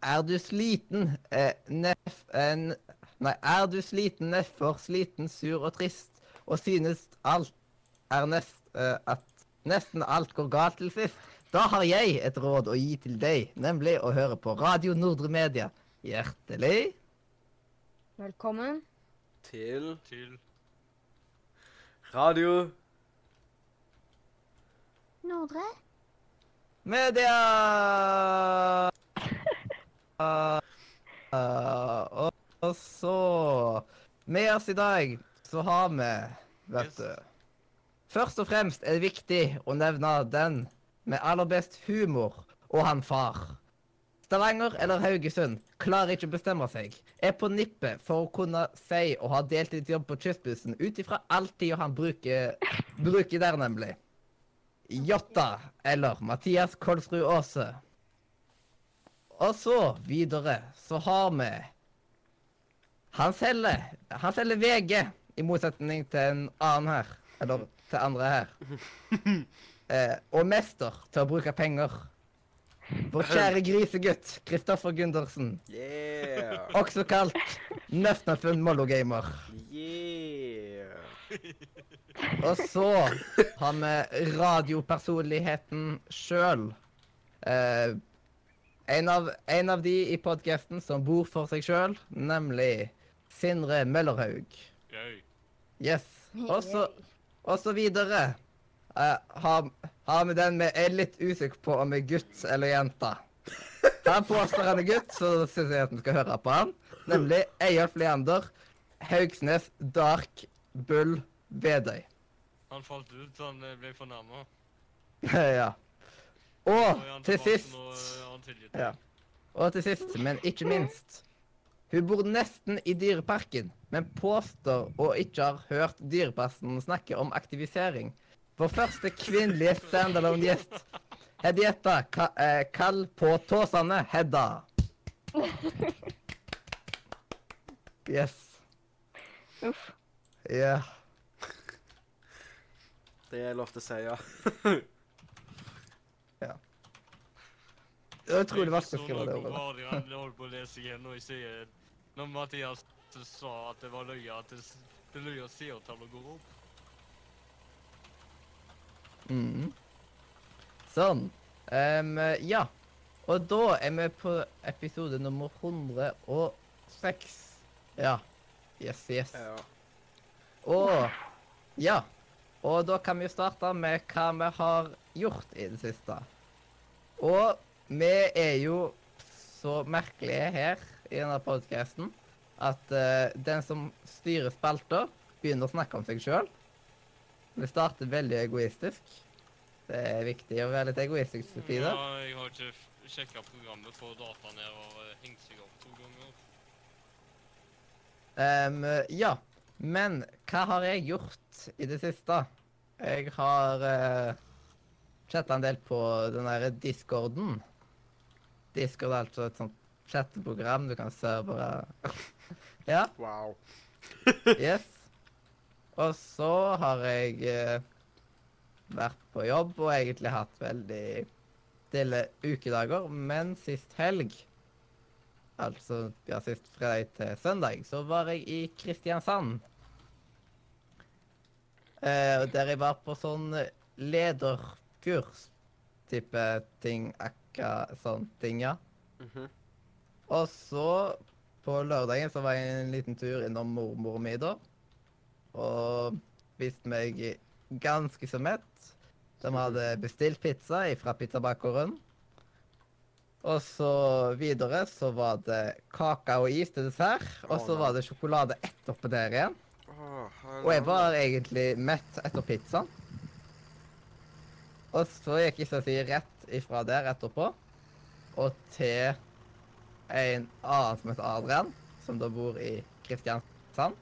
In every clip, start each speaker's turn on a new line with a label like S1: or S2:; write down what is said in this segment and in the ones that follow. S1: Er du sliten, eh, neff... Eh, n- nei, er du sliten, nedfor, sliten, sur og trist, og synes alt er nest... Eh, at nesten alt går galt til sist, da har jeg et råd å gi til deg, nemlig å høre på Radio Nordre Media. Hjertelig.
S2: Velkommen.
S3: til
S4: til
S3: Radio
S2: Nordre.
S1: Media! Ah, ah, og, og så Med oss i dag så har vi, vet
S4: Yes.
S1: du Først og fremst er det viktig å nevne den med aller best humor og han far. Stavanger eller Haugesund klarer ikke å bestemme seg. Er på nippet for å kunne si å ha deltidsjobb på kystbussen ut ifra all tida han bruker, bruker der, nemlig. Jotta eller Mathias Kolsrud Aase. Og så videre så har vi Han selger Han selger VG, i motsetning til en annen her. Eller til andre her. Eh, og mester til å bruke penger. Vår kjære grisegutt Kristoffer Gundersen,
S3: Yeah.
S1: også kalt Nøfnafund Mollo-gamer.
S3: Yeah.
S1: Og så har vi radiopersonligheten sjøl. Eh, en, av- en av de i podkasten som bor for seg sjøl, nemlig Sindre Møllerhaug.
S4: Gøy.
S1: Yes. Og så, og så videre eh, har, har vi den vi er litt usikker på om er gutt eller jente. Han påstår han er gutt, så syns jeg at vi skal høre på han. Nemlig Eyolf Leander Haugsnes Dark Bull Vedøy.
S4: Han falt ut, han eh, ble fornærma.
S1: ja.
S4: Nå
S1: Og
S4: er han
S1: Ah, til
S4: tilbake,
S1: sist,
S4: nå eh. er han tilgitt.
S1: Ja. og til sist, men ikke minst Hun bor nesten i Dyreparken, men påstår å ikke har hørt Dyreparken snakke om aktivisering. Vår første kvinnelige standalone-gjest. Hedietta ka eh, Kall på tåsene, Hedda. Yes.
S2: Uff.
S1: Ja.
S3: Det er lov til å si, ja.
S1: Det var utrolig
S4: Jeg
S1: vanskelig å
S4: så
S1: skrive det
S4: noen
S1: ordet.
S4: kommentarer Han holdt på å lese igjen og sier Når Mathias sa at det var løye at det, s- det løye seertallet går opp.
S1: Mm. Sånn. Ehm, ja. Og da er vi på episode nummer 106. Ja. Yes, yes.
S3: ja.
S1: Og Ja. Og da kan vi jo starte med hva vi har gjort i det siste. Og vi er jo så merkelige her i denne podkasten at eh, den som styrer spalter, begynner å snakke om seg sjøl. Vi starter veldig egoistisk. Det er viktig å være litt egoistisk til
S4: Ja,
S1: tider.
S4: jeg har ikke sjekka programmet, for dataen her har eh, hengt seg opp to ganger.
S1: Ehm, ja. Men hva har jeg gjort i det siste? Jeg har uh, chatta en del på den derre discorden. Discord er altså et sånt chatteprogram du kan servere Ja,
S3: Wow.
S1: yes. Og så har jeg eh, vært på jobb og egentlig hatt veldig stille ukedager, men sist helg Altså ja, sist fredag til søndag, så var jeg i Kristiansand. Eh, og der jeg var på sånn lederkurs-type ting, akka, sånn ting, ja.
S3: Mhm.
S1: Og så, på lørdagen, så var jeg en liten tur innom mormor mi, da. Og spiste meg ganske så mett. De hadde bestilt pizza fra pizzabakeren. Og så videre så var det kake og is til dessert. Og så
S3: Å, nei.
S1: var det sjokolade etterpå der igjen.
S3: Åh,
S1: Og jeg var egentlig mett etter pizzaen. Og så gikk jeg så å si rett ifra der etterpå og til en annen som heter Adrian, som da bor i Kristiansand.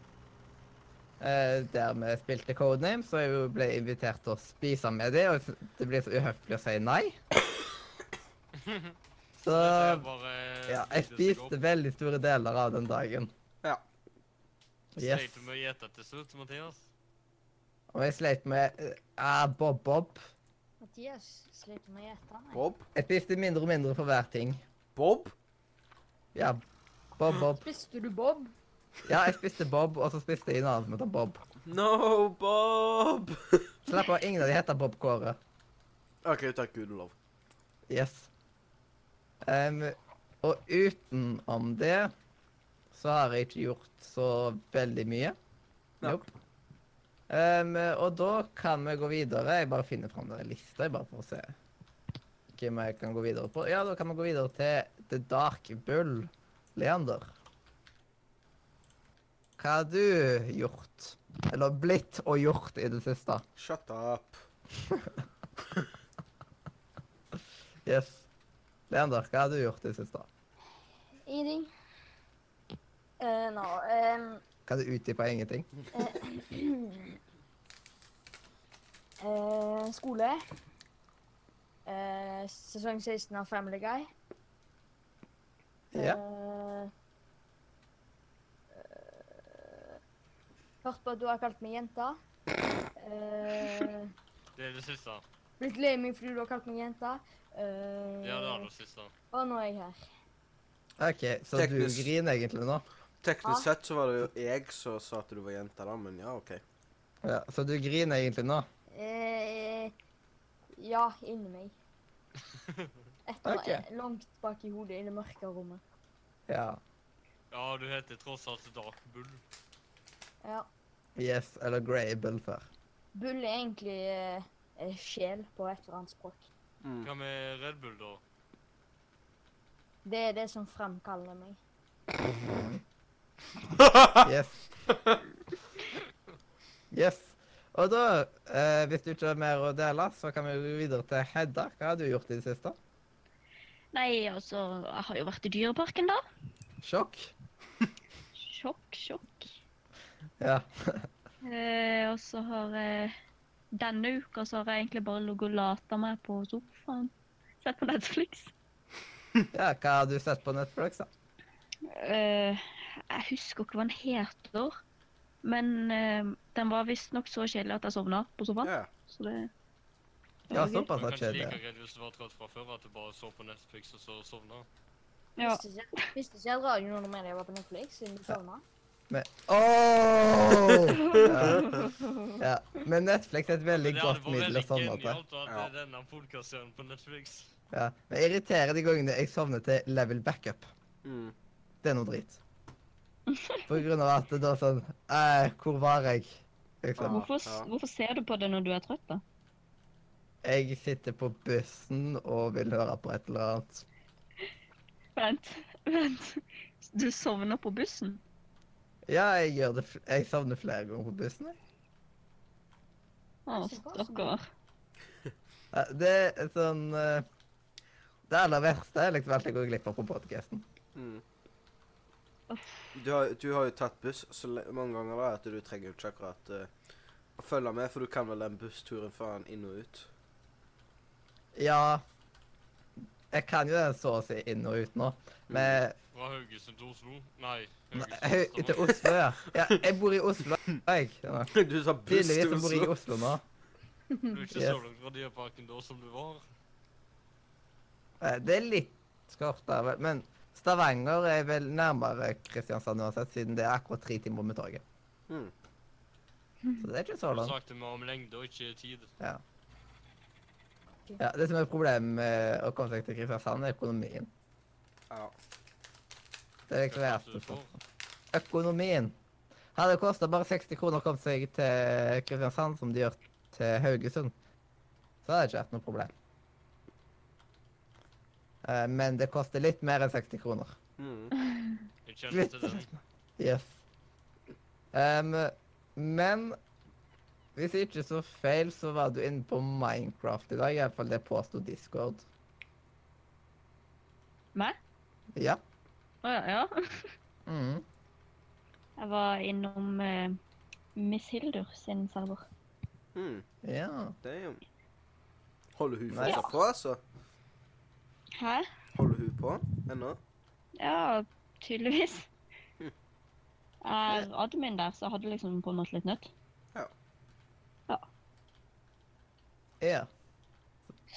S1: Eh, der vi spilte Codename, så jeg jo ble invitert til å spise med dem, og s- det blir så uhøflig å si nei. Så
S4: Dette er bare-
S1: Eh,
S4: eh,
S1: ja, jeg
S4: bygde seg
S1: spiste veldig store deler av den dagen.
S3: Ja.
S4: Yes.
S1: Yes.
S4: Sleit du med å gjete til slutt, Mathias?
S1: Og jeg sleit med eh, Bob Bob.
S2: Mathias sliter med å gjette.
S3: Bob?
S1: Jeg spiste mindre og mindre for hver ting.
S3: Bob?
S1: Ja. Bob, Bob.
S2: Spiste du bob?
S1: Ja, jeg spiste Bob, og så spiste jeg en annen som heter Bob.
S3: No, Bob!
S1: Slapp av, ingen av de heter Bob Kåre.
S3: OK, takk gud og lov.
S1: Yes. Em, og utenom det så har jeg ikke gjort så veldig mye.
S3: Nei.
S1: Nope. Em, og da kan vi gå videre. Jeg bare finner fram den lista jeg bare for å se hvem jeg kan gå videre på. Ja, da kan vi gå videre til The Dark Bull. Leander. Hva har du gjort? Eller blitt og gjort i det siste?
S3: Shut up.
S1: Yes. Leander, hva har du gjort i det siste?
S2: Ingenting. Eh, nå ehm,
S1: Kan du utdype ingenting?
S2: eh, Skole. Eh, sesong 16 av Family Guy.
S1: Ja.
S2: Eh, eh, Hørt på at du har kalt meg jenta. Eh,
S4: Det er det siste.
S2: blitt lei meg fordi du har kalt meg jenta. Eh,
S4: Ja, det er det siste.
S2: Og nå er jeg her.
S1: OK, så
S3: Teknisk.
S1: du griner egentlig nå?
S3: Teknisk sett så var det jo jeg som sa at du var jente, da, men ja, OK.
S1: Ja, så du griner egentlig nå?
S2: Eh, ja, inni meg. Etter,
S1: Ok.
S2: eh, Langt bak i hodet, i det mørke rommet.
S1: Ja.
S4: Ja, du heter tross alt Dark Bull.
S2: Ja.
S1: Yes, eller Greyable før.
S2: Bull er egentlig eh, eh, sjel på et eller annet språk.
S3: Mm.
S4: Hva med Red Bull, da?
S2: Det er det som fremkaller meg.
S1: Yes. Yes. Og da, eh, hvis du ikke har mer å dele, så kan vi gå videre til Hedda. Hva har du gjort i det siste?
S5: Nei, altså, jeg har jo vært i dyreparken, da.
S1: Sjokk?
S5: Sjokk, sjokk.
S1: Ja.
S5: Eh, og så har jeg Denne uka så har jeg egentlig bare ligget og lata meg på sofaen. Sett på Netflix.
S1: ja. Hva har du sett på Netflix, da?
S5: Eh, jeg husker ikke hva den heter, men eh, den var visstnok så kjedelig at jeg sovna på sofaen.
S3: Ja.
S5: Så det det
S1: Ja,
S5: var gøy.
S1: såpass
S4: Du
S1: har
S4: kan ikke like
S1: skjedd.
S4: greit hvis du var trøtt fra før at du bare så på Netflix og så sovna.
S5: Ja.
S2: Visste ikke- Visste ikke at radioen med deg var på Netflix siden du sovna.
S1: Ååå! Ja. ja. Men Netflix er et veldig
S4: Men
S1: godt middel å sovne til.
S4: genialt å ha
S3: Ja.
S4: denne podkasten på Netflix.
S1: Ja. Men jeg irriterer de gangene jeg sovner til level backup.
S3: Mm.
S1: Det er noe drit. På grunn av at det da sånn eh, Hvor var jeg? Liksom.
S5: Hvorfor, s-
S3: Ja.
S5: hvorfor ser du på det når du er trøtt, da?
S1: Jeg sitter på bussen og vil høre på et eller annet.
S5: Vent, vent. Du sovner på bussen?
S1: Ja, jeg gjør det fl Jeg sovner flere ganger på bussen. Jeg.
S5: Å,
S2: Det er så koselig.
S5: stakkar.
S1: Eh, Det er sånn eh, Det aller verste er liksom alt jeg går glipp av på podkasten.
S3: Mm. Du, har, du har jo tatt buss så le- mange ganger da, at du trenger jo ikke akkurat eh, å følge med, for du kan vel den bussturen faen inn og ut.
S1: Ja Jeg kan jo den så å si inn og ut nå, men
S4: Fra Haugesund til Oslo. Nei.
S1: Høy-
S4: Haugesund
S1: til Oslo, ja. ja. Jeg bor i Oslo, jeg. Ja.
S3: Du sa buss
S1: Tydeligvis
S3: til
S1: så bor jeg i
S3: Oslo.
S1: Oslo nå.
S4: Du er
S1: Yes.
S4: ikke så langt fra Dyreparken da som du var.
S1: Eh, Det er litt kortere, vel, men Stavanger er vel nærmere Kristiansand uansett, siden det er akkurat tre timer med toget.
S3: Mm.
S1: Så det er ikke så
S4: Du
S1: langt.
S4: snakket meg om lengde og ikke tid.
S1: Ja, det som er problemet med å komme seg til Kristiansand, er økonomien.
S3: Ja.
S1: Det er
S4: Det
S1: liksom
S4: er sant
S1: verste.
S4: du får.
S1: for- Økonomien. Hadde det kosta bare 60 kroner å komme seg til Kristiansand, som de gjør til Haugesund, så hadde det ikke vært noe problem. Eh, Men det koster litt mer enn 60 kroner.
S3: Mm.
S4: Jeg kjenner til den.
S1: Yes. Em, men hvis jeg ikke så feil, så var du inne på Minecraft i dag. Iallfall det påsto Discord.
S5: Meg?
S1: Ja.
S5: Å ja, ja.
S1: Mhm.
S5: Jeg var innom eh, Miss Hildur sin server.
S3: Mm.
S1: Ja.
S3: Det er jo Holder hun
S1: Nei.
S3: fortsatt på, altså?
S5: Hæ?
S3: Holder hun på ennå?
S5: Ja, tydeligvis.
S3: Hm.
S5: Jeg er admin der, så jeg hadde liksom på en måte litt nødt.
S1: ja.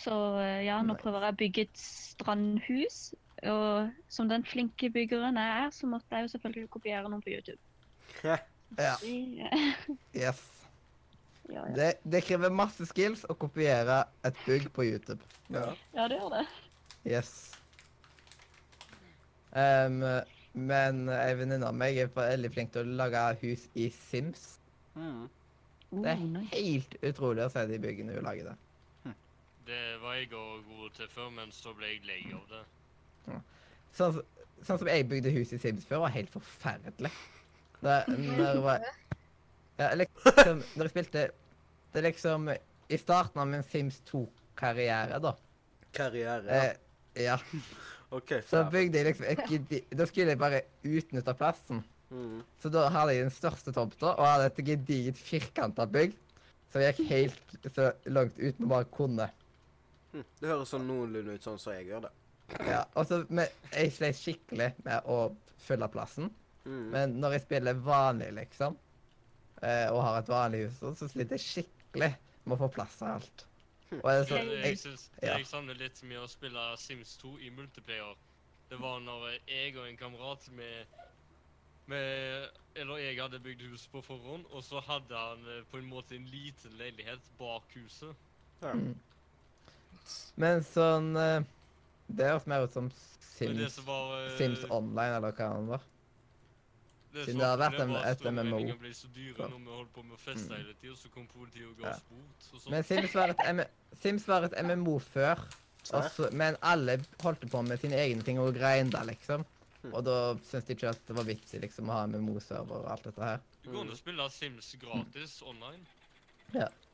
S5: Så eh, ja, nå
S1: Nice.
S5: prøver jeg å bygge et strandhus. Og som den flinke byggeren jeg er, så måtte jeg jo selvfølgelig kopiere noen på YouTube.
S1: Ja.
S5: Ja,
S1: Yes.
S5: ja, ja.
S1: Det, det krever masse skills å kopiere et bugg på YouTube.
S3: Ja.
S5: ja det gjør det.
S1: Yes. Ehm, men ei venninne av meg er veldig flink til å lage hus i Sims.
S3: Mm.
S1: Det
S5: Oh,
S1: er
S5: nice.
S1: helt utrolig å se de byggene hun lager der.
S4: Det var jeg òg god til før, men så ble jeg lei av det.
S1: Sånn, som- sånn som jeg bygde hus i Sims før, var helt forferdelig. Da, når jeg var ja, liksom, Når jeg spilte Det er liksom I starten av min Sims 2-karriere, da.
S3: Karriere. ja.
S1: Eh, ja.
S3: OK.
S1: Så
S3: faen.
S1: bygde jeg liksom et gedi... Da skulle jeg bare utnytte plassen.
S3: Mm.
S1: Så da hadde jeg den største tomta og hadde et gedigent firkanta bygg som gikk helt så langt ut vi bare kunne.
S3: Hm, Det høres sånn noenlunde ut sånn som jeg gjør det.
S1: Ja, og så men Jeg sleit skikkelig med å fylle plassen,
S3: Mm.
S1: men når jeg spiller vanlig, liksom, eh, og har et vanlig hus, så- så sliter jeg skikkelig med å få plass til alt.
S4: Hm.
S1: Og Altså, jeg, så,
S4: Det jeg,
S1: jeg,
S4: synes, det
S1: ja.
S4: jeg savner litt med å spille Sims 2 i multiplayer, det var når jeg og en kamerat med, med Eller jeg hadde bygd hus på forhånd, og så hadde han eh, på en måte en liten leilighet bak huset.
S3: Ja.
S1: men sånn eh, Det høres mer ut som
S4: Men det
S1: Sims,
S4: som var eh,
S1: Sims Online eller hva det var. Siden
S4: Det som
S1: det har
S4: var
S1: vært en-
S4: problemet var
S1: et
S4: at strømregningene
S1: MMO.
S4: ble så dyre
S1: Ja. Mm.
S4: når vi holdt på med å feste hele tida, så kom politiet og ga
S1: Ja.
S4: oss bot. og sånt.
S1: Men Sims var et, M Sims var et MMO før. Og
S3: Serr?
S1: så- men alle holdt på med sine egne ting og grein der, liksom.
S3: Hmm.
S1: Og da syntes de ikke at det var vits i liksom, å ha MMO-server og alt dette her.
S4: Det går an å spille Sims gratis online.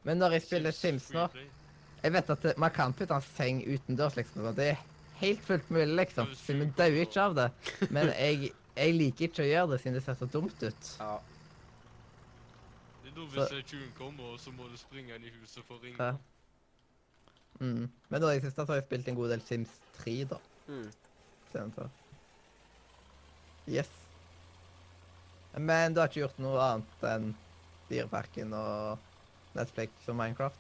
S1: Men når jeg spiller
S4: Sims
S1: Sims nå,
S4: Freeplay.
S1: jeg vet at det- man kan putte en seng utendørs, liksom. sånn. Det er helt fullt mulig, liksom.
S4: Ja, hvis du
S1: Siden vi
S4: går
S1: dauer
S4: på-
S1: ikke av det. Men jeg, jeg liker ikke å gjøre det, siden det ser så dumt ut.
S3: ja.
S4: Det er da
S1: Så-
S4: hvis eh, tjuven kommer, og så må du springe inn i huset for å ringe.
S1: Ja. Mm. Men nå i det siste så har jeg spilt en god del Sims 3, da.
S3: Mm.
S1: Siden så. Yes. Men du har ikke gjort noe annet enn Dyreparken og Netflix og Minecraft?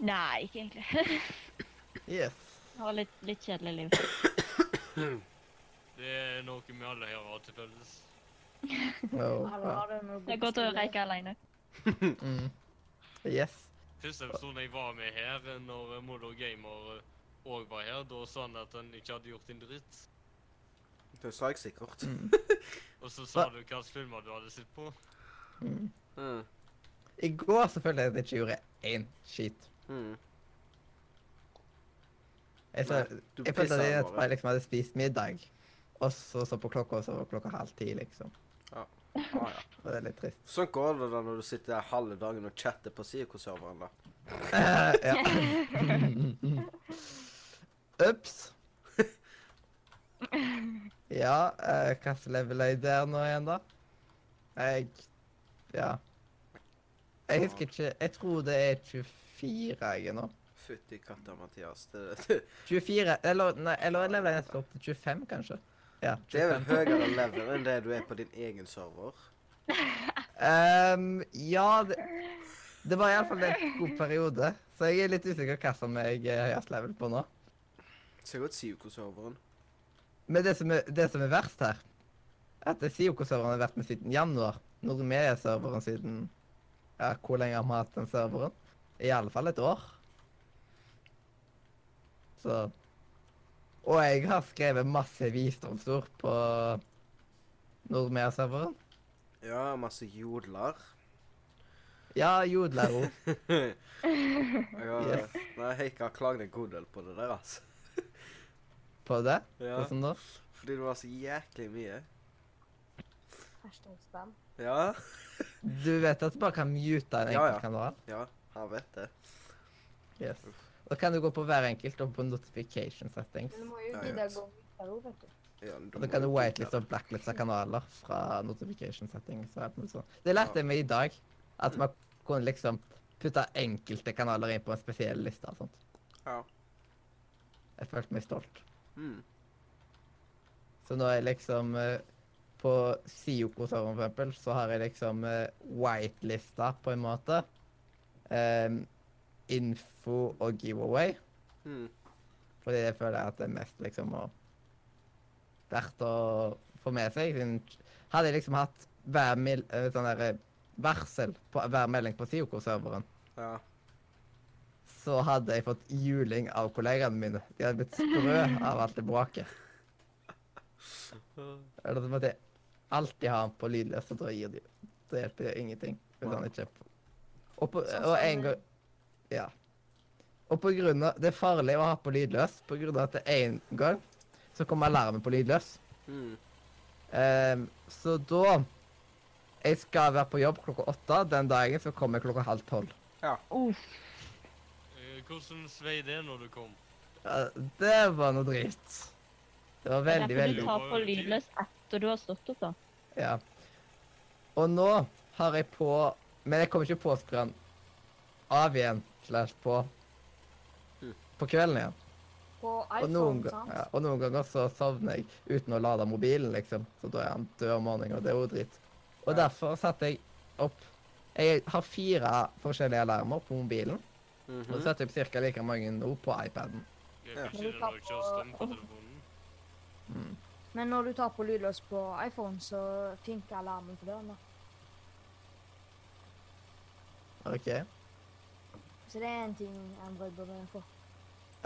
S5: Nei, ikke egentlig.
S1: Yes.
S5: Jeg har litt, litt kjedelig liv.
S4: Det er noe vi alle her har til felles.
S1: Oh,
S2: Alle
S1: ja.
S2: har det når du
S5: Det er godt å reike alene.
S1: mm. Yes.
S4: Første episoden jeg var med her, eh, når Moldo Gamer òg var her, da sa han at han ikke hadde gjort en dritt.
S3: Det sa jeg sikkert.
S1: Mm.
S4: Og så sa du hvilke filmer du hadde sett på.
S1: Mm.
S3: Mm.
S1: I går så følte jeg at jeg ikke gjorde én skit.
S3: Mm.
S1: Jeg, så,
S3: Nei, du
S1: jeg følte at jeg
S3: pisser
S1: nettopp liksom hadde spist middag, og så så på klokka, og så var klokka halv ti, liksom.
S3: Ah, ja.
S1: Og det er litt trist.
S3: Sånn går det da når du sitter der halve dagen og chatter på Sico-serveren, da.
S1: Eh, ja. Ups. Ja, eh, hva slags level er jeg der nå igjen, da? Jeg Ja. Jeg husker ikke Jeg tror det er 24 jeg er nå.
S3: Fytti katta, Mathias. Det, det,
S1: 24 Eller nei, eller level jeg nesten opp til 25, kanskje. Ja,
S3: det er
S1: 25.
S3: vel høyere level enn det du er på din egen server.
S1: Ehm, ja, det, det var iallfall en god periode, så jeg er litt usikker hva som jeg er høyest level på nå.
S3: Så godt Sico-serveren.
S1: Men det som er, det som er verst her, er at Sioko-serveren har vært med siden januar. Normedia-serveren siden ja, Hvor lenge har vi hatt den serveren? I alle fall et år. Så Og jeg har skrevet masse visdomsord på Nordmea-serveren.
S3: Ja, masse jodler.
S1: Ja, jodlero.
S3: Jeg har,
S1: Yes.
S3: Nei, Heikki har klaget en god del på det der, altså.
S1: på det. sånn-
S3: Ja,
S1: Hvordan da?
S3: fordi det var så jæklig mye.
S2: Hashtag-spam.
S3: Ja,
S1: Du vet at du bare kan mute en
S3: Ja, ja.
S1: enkelt kanal?
S3: ja, han vet det.
S1: Yes. Da kan du gå på hver enkelt og på notification settings.
S2: Men du må jo
S3: Ja,
S2: gidde
S3: ja.
S2: å gå videre òg, vet du.
S3: Ja,
S1: Og da kan du whiteliste og blackliste kanaler fra notification settings og alt mulig sånt. Det lærte jeg meg i dag. At man kunne liksom putte enkelte kanaler inn på en spesiell liste og sånt.
S3: Ja.
S1: Jeg følte meg stolt.
S3: Mm.
S1: Så nå er jeg liksom eh, På Sioko-serveren, for eksempel, så har jeg liksom eh, whitelista, på en måte. Ehm, info og giveaway.
S3: Hmm.
S1: Fordi jeg føler at det er mest liksom å verdt å få med seg. siden Hadde jeg liksom hatt hver mil, eh, sånn der eh, varsel på hver melding på Sioko-serveren,
S3: Ja.
S1: så hadde jeg fått juling av kollegaene mine. De hadde blitt sprø av alt det bråket. Eller så måtte jeg alltid ha den på lydløs, og da gir det jo Da hjelper det ingenting. Hvis han ikke er på. Og, på,
S2: Sånn
S1: og
S2: som,
S1: en gang Ja. Og på grunn av Det er farlig å ha på lydløs på grunn av at det en gang så kom alarmen på lydløs.
S3: Hmm.
S2: Mm.
S1: Ehm, så da Jeg skal være på jobb klokka åtte. Den dagen så kommer jeg klokka halv tolv.
S5: Uff.
S4: Eh, Hvordan svei det når du kom?
S1: Ja, det var noe dritt. Det var
S5: Det
S1: veldig,
S5: er derfor
S1: veldig
S5: Du tar på lydløs etter du har stått opp, da.
S1: Ja. Og nå har jeg på Men jeg kommer ikke på å skru den av igjen. Slash på.
S3: Mm.
S1: På kvelden igjen.
S2: På
S1: Og noen,
S2: iPhone,
S1: ga-
S2: sant?
S1: ja, og noen ganger så sovner jeg uten å lade mobilen, liksom. Så da er han død om morgenen, og det er jo dritt. Og
S3: Ja.
S1: derfor satte jeg opp Jeg har fire forskjellige alarmer på mobilen, og så
S3: Mhm.
S1: setter jeg opp ca. like mange nå på iPaden.
S4: Jeg
S3: Ja.
S4: fikk ikke det når jeg ikke har strøm på telefonen.
S2: Men når du tar på lydløs på iPhone, så finker alarmen på døren. da.
S1: OK?
S2: Så det er en ting Android burde få.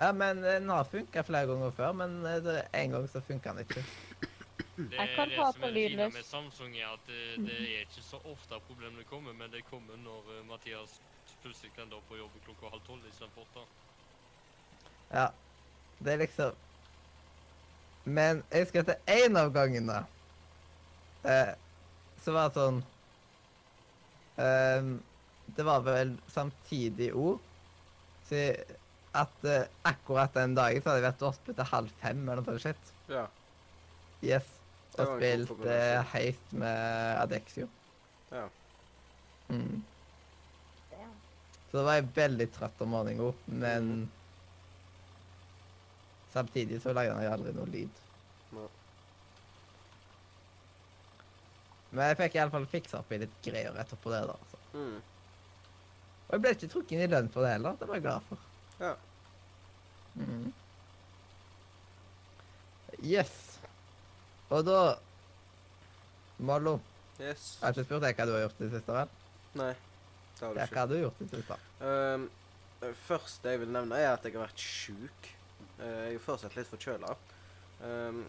S1: Ja, men eh, den har funka flere ganger før, men eh, det- en gang så funka den ikke.
S4: Det
S5: Jeg
S4: er
S5: kan
S4: det
S5: ta
S4: som
S5: på
S4: er det fine
S5: lydløs.
S4: med Samsung, er at eh, det, det er ikke så ofte at problemene kommer, men det kommer når eh, Mathias plutselig kan da på jobb klokka halv tolv istedenfor åtte.
S1: Ja. Det er liksom Men jeg husker at det en av gangene eh, Så var det sånn ehm, Det var vel samtidig ord. Så jeg- at eh, akkurat den dagen så hadde jeg vært oppe til halv fem eller noe sånt. shit.
S3: Ja.
S1: Yes.
S3: Det
S1: Og
S3: var en god
S1: spilt eh,
S3: kombinasjon.
S1: heist med Adexio.
S3: Ja.
S1: Mm.
S2: Det er-
S1: Så da var jeg veldig trøtt om morgenen, men
S3: Mhm.
S1: Samtidig så lagde jeg aldri noe lyd.
S3: Nei.
S1: Men jeg fikk iallfall fiksa opp i litt greier etterpå det, da. Altså.
S3: Mm.
S1: Og jeg ble ikke trukket inn i lønn for det heller. Det var jeg glad for.
S3: Ja.
S1: Mm. Yes. Og da Mollo,
S3: Yes.
S1: jeg har ikke spurt deg hva du har gjort i det siste, vel?
S3: Nei. Det har du
S1: Ja,
S3: ikke.
S1: hva har du gjort i det siste?
S3: Um, først jeg vil nevne er at jeg har vært sjuk. Eh, jeg er fortsatt litt forkjøla. Um,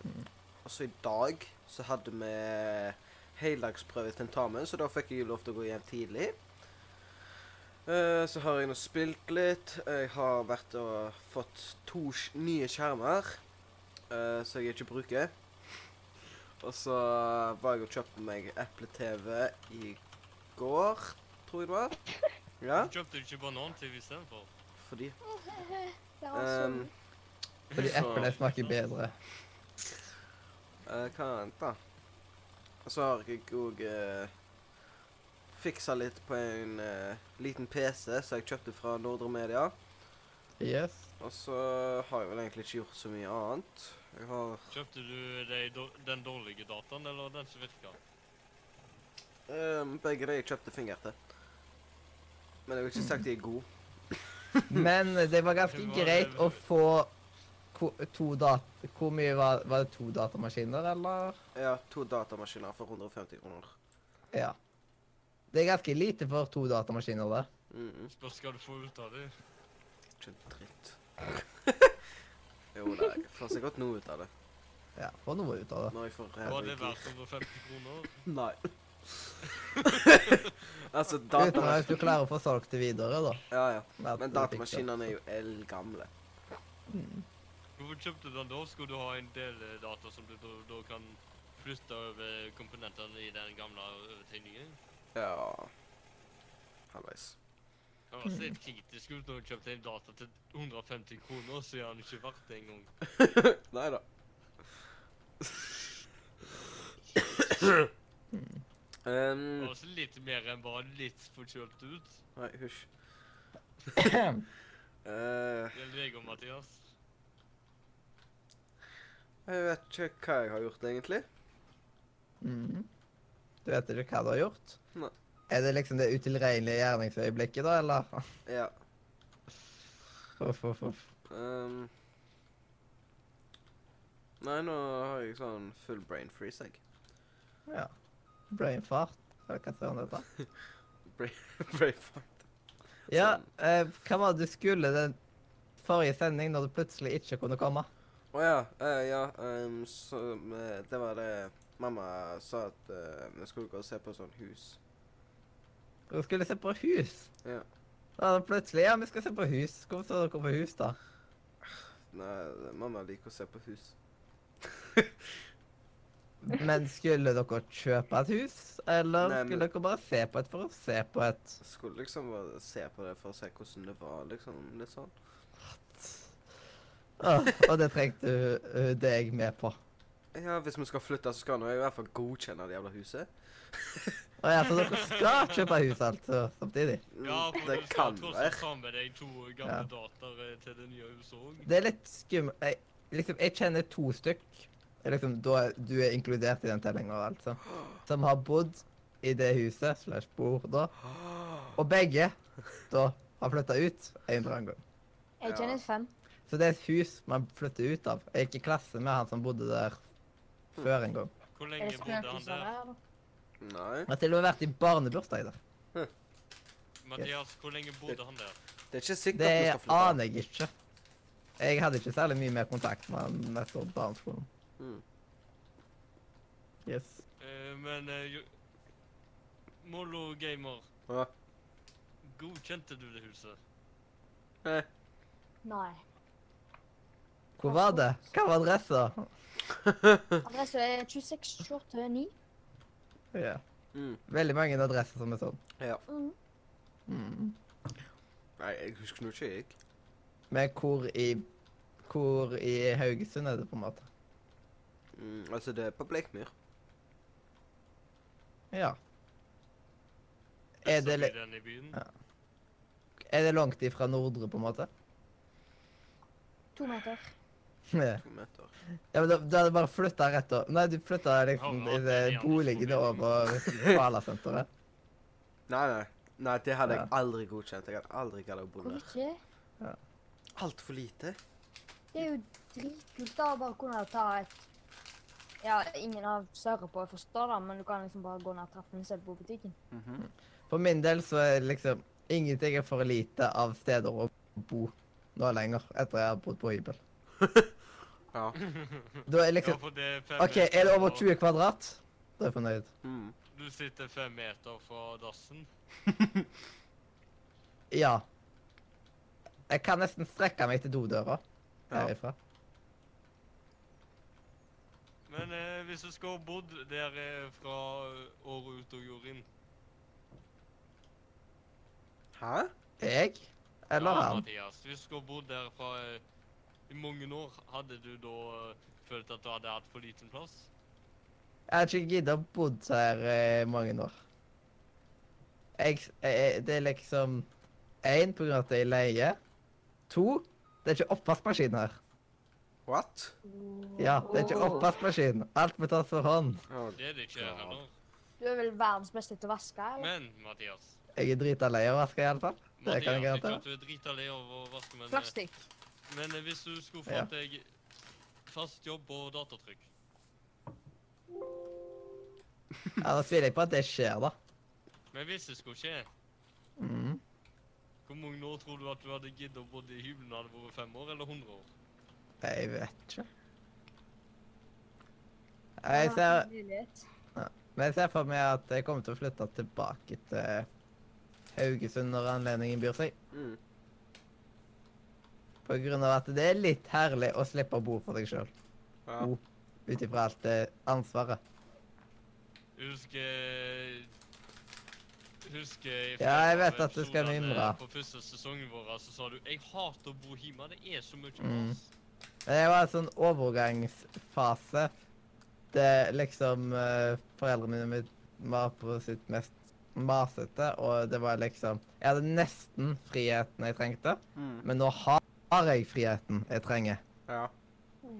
S3: og så i dag så hadde vi heldagsprøve i tentamen, så da fikk jeg lov til å gå hjem tidlig. Eh, så har jeg nå spilt litt. Jeg har vært og fått to sk- nye skjermer eh, som jeg ikke bruker. Og så var jeg og kjøpte meg Apple TV i går, tror jeg det var. Ja.
S4: Du kjøpte ikke banan-TV istedenfor.
S3: Fordi
S2: Det sånn- var så
S1: Um,
S3: Ehm,
S2: mye.
S1: Fordi
S3: Så-
S1: eplet smaker bedre.
S3: eh, Hva annet, da? Og så har jeg òg eh, fiksa litt på en eh, liten PC som jeg kjøpte fra Nordre Media.
S1: Yes.
S3: Og så har jeg vel egentlig ikke gjort så mye annet. Jeg har
S4: Kjøpte du de, dår- den dårlige dataen, eller den som virka?
S3: eh, begge de jeg kjøpte finger til. Men jeg vil ikke sagt de er gode.
S1: Men det var ganske
S4: Det var-
S1: greit å få ko- to dat... Hvor mye var, var det to datamaskiner, eller?
S3: Jeg har to datamaskiner for 150 kroner.
S1: Ja. Det er ganske lite for to datamaskiner, det.
S3: Mm -mm.
S4: Spørs hva du får ut av det.
S3: Ikke dritt. jo da, jeg får sikkert noe ut av det.
S1: Ja, Få noe ut av det.
S3: Når jeg får
S4: Var det
S3: ræva i
S4: verdt 150 kroner?
S3: Nei. altså,
S1: Utenom hvis
S3: datamaskin...
S1: du klarer å få solgt det videre, da.
S3: Ja, ja.
S1: at
S3: Men
S1: du fikk det.
S3: datamaskinene er jo eldgamle.
S4: Hvorfor kjøpte du den da? Skulle du ha en del eh, data som du da, da kan flytte over komponentene i den gamle overtegningen?
S3: Ja Halvveis.
S4: Det var så litt kritisk ut når du kjøpte en data til 150 kroner, så er den ikke verdt det engang.
S3: Nei da.
S4: Det
S3: um,
S4: var så litt mer enn bare litt forkjølt ut.
S3: nei, hysj. Eh,
S4: Gjelder deg og Mathias?
S3: jeg vet ikke hva jeg har gjort, egentlig.
S1: Mhm. Du vet ikke hva du har gjort?
S3: Nei.
S1: Er det liksom det utilregnelige gjerningsøyeblikket, da, eller?
S3: Ja.
S1: Uff, uff, uff.
S3: Ehm, nei, nå har jeg sånn full brain freeze, jeg.
S1: Ja. Brain fart. Eller hva søren det heter.
S3: brain fart.
S1: Ja,
S3: Sånn.
S1: eh, hva var det du skulle den forrige sending når du plutselig ikke kunne komme?
S3: Å ja. eh, ja ehm, så, eh, det var det mamma sa at eh, vi skulle gå og se på sånn hus.
S1: Du skulle se på hus.
S3: Ja.
S1: Da var det plutselig, ja, vi skal se på hus. Hvorfor så dere på hus da?
S3: Nei, mamma liker å se på hus.
S1: Men skulle dere kjøpe et hus, eller
S3: Nei, men-
S1: skulle dere bare se på et for å se på et?
S3: Jeg skulle liksom bare se på det for å se hvordan det var, liksom. Litt sånn.
S1: Åh, og det trengte uh, deg med på.
S3: Ja, hvis vi skal flytte, så skal nå jeg i hvert fall godkjenne det jævla huset.
S1: Å ja, så dere skal kjøpe hus altså samtidig.
S3: Mm,
S4: Ja, for
S3: det
S4: du skal sånn.
S3: kan
S4: tross alt
S3: være.
S4: ha med deg to gamle dater eh, til det nye huset òg.
S1: Det er litt skummelt. Jeg, liksom, jeg kjenner to stykk. Liksom, da du er inkludert i den tellinga, altså. Som har bodd i det huset, slash bor da. Og begge da har flytta ut en eller annen gang.
S2: Jeg kjenner fem.
S1: Så det er et hus man flytter ut av. Jeg gikk i klasse med han som bodde der før en gang.
S4: Hvor
S2: Er
S4: lenge
S2: det
S4: bodde han
S2: spøkelser
S4: der?
S2: der? eller?
S3: Nei,
S1: Jeg har til og med vært i barnebursdag der.
S4: Mathias, hvor lenge bodde han der?
S3: det er ikke sikkert
S1: Det
S3: vi skal flytte.
S1: aner jeg ikke. Jeg hadde ikke særlig mye mer kontakt med han etter barneskolen.
S3: Mm.
S1: Yes.
S4: Eh, men eh, jo... Mollo gamer,
S3: Ja.
S4: godkjente du det huset?
S3: Nei.
S2: Nei.
S1: Hvor var det? Hva var adressa?
S2: Adresse er 26 28 9.
S1: Ja.
S3: Mm.
S1: Veldig mange adresser som er sånn. Mm.
S2: Mm.
S3: Nei, jeg husker nå ikke jeg.
S1: Men hvor i Hvor i Haugesund er det, på en måte?
S3: Mm, altså, det er på Bleikmyr.
S1: Ja. Er det, li-
S4: den i byen?
S1: Ja. er det langt ifra Nordre, på en måte?
S2: To meter.
S1: Ja,
S3: To meter.
S1: men da, da er det bare flytta rett over Nei, du flytta liksom
S4: Ja,
S1: i
S4: ja,
S1: det
S4: det er
S1: boligene
S4: jævlig
S1: over Kvalasenteret.
S3: Nei, nei. Nei, det hadde
S1: Ja.
S3: jeg aldri godkjent. Jeg hadde aldri gadd å bo
S2: Hvorfor
S3: der.
S2: ikke?
S3: Altfor lite.
S2: Det er jo dritkult da, å bare kunne ta et Ja, ingen har større på, jeg forstår det, men du kan liksom bare gå ned trappen selv på butikken.
S3: Mhm.
S1: For min del så er liksom ingenting er for lite av steder å bo nå lenger, etter jeg har bodd på hybel.
S3: Ja.
S1: Da er
S4: Ja,
S1: liksom
S4: for det er fem
S1: OK, er det
S4: meter
S1: over
S4: fra-
S1: 20 kvadrat? Da er jeg fornøyd.
S3: Mm.
S4: Du sitter fem meter fra dassen.
S1: Ja. Jeg kan nesten strekke meg til dodøra
S3: Ja.
S1: herifra.
S4: Men eh, hvis du skal ha bodd der eh, fra året ut og jorda inn
S3: Hæ?
S1: Jeg? Eller
S4: ja,
S1: han?
S4: Mathias, hvis du skulle ha bodd der fra eh, i mange år, hadde du da eh, følt at du hadde hatt for liten plass?
S1: Jeg har ikke giddet å bodd her i mange år. Jeg, jeg, det er liksom Én på grunn av at jeg er leie. To det er ikke oppvaskmaskin her.
S3: What?
S1: Ja, det er ikke oppvaskmaskin. Alt må tas for hånd.
S3: Oh,
S4: Det er det ikke
S3: Ja.
S4: her heller.
S2: Du er vel verdens beste til å vaske, eller?
S4: Men Mathias
S1: Jeg er drita lei av å vaske, iallfall. Det
S4: Mathias,
S1: kan jeg
S4: ikke
S1: garantere.
S4: at du er drita lei av å vaske, men, eh,
S2: Plastikk.
S4: men eh, hvis du skulle
S1: Ja.
S4: fått deg fast jobb og datatrykk
S1: Ja, da tviler jeg på at det skjer, da.
S4: Men hvis det skulle skje,
S1: Mm.
S4: hvor mange år tror du at du hadde giddet å bo i hybelen hadde vært fem år eller 100 år?
S1: Jeg vet ikke. Jeg ser
S2: Mulighet.
S1: Men jeg ser for meg at jeg kommer til å flytte tilbake til Haugesund når anledningen byr seg.
S3: Mm.
S1: På grunn av at det er litt herlig å slippe å bo for deg sjøl,
S3: Ja.
S1: Oh. ut ifra alt det ansvaret.
S4: Jeg Husker Husker
S1: Ja, jeg vet at du skal
S4: episodene
S1: mimre.
S4: eh, På første sesongen vår så sa du 'Jeg hater å bo hjemme, det er så mye
S1: Mm.
S4: mas'.
S1: Men det var en sånn overgangsfase der liksom eh, foreldrene mine var på sitt mest masete, og det var liksom Jeg hadde nesten friheten jeg trengte,
S3: Mm.
S1: men nå har jeg friheten jeg trenger.
S3: Ja.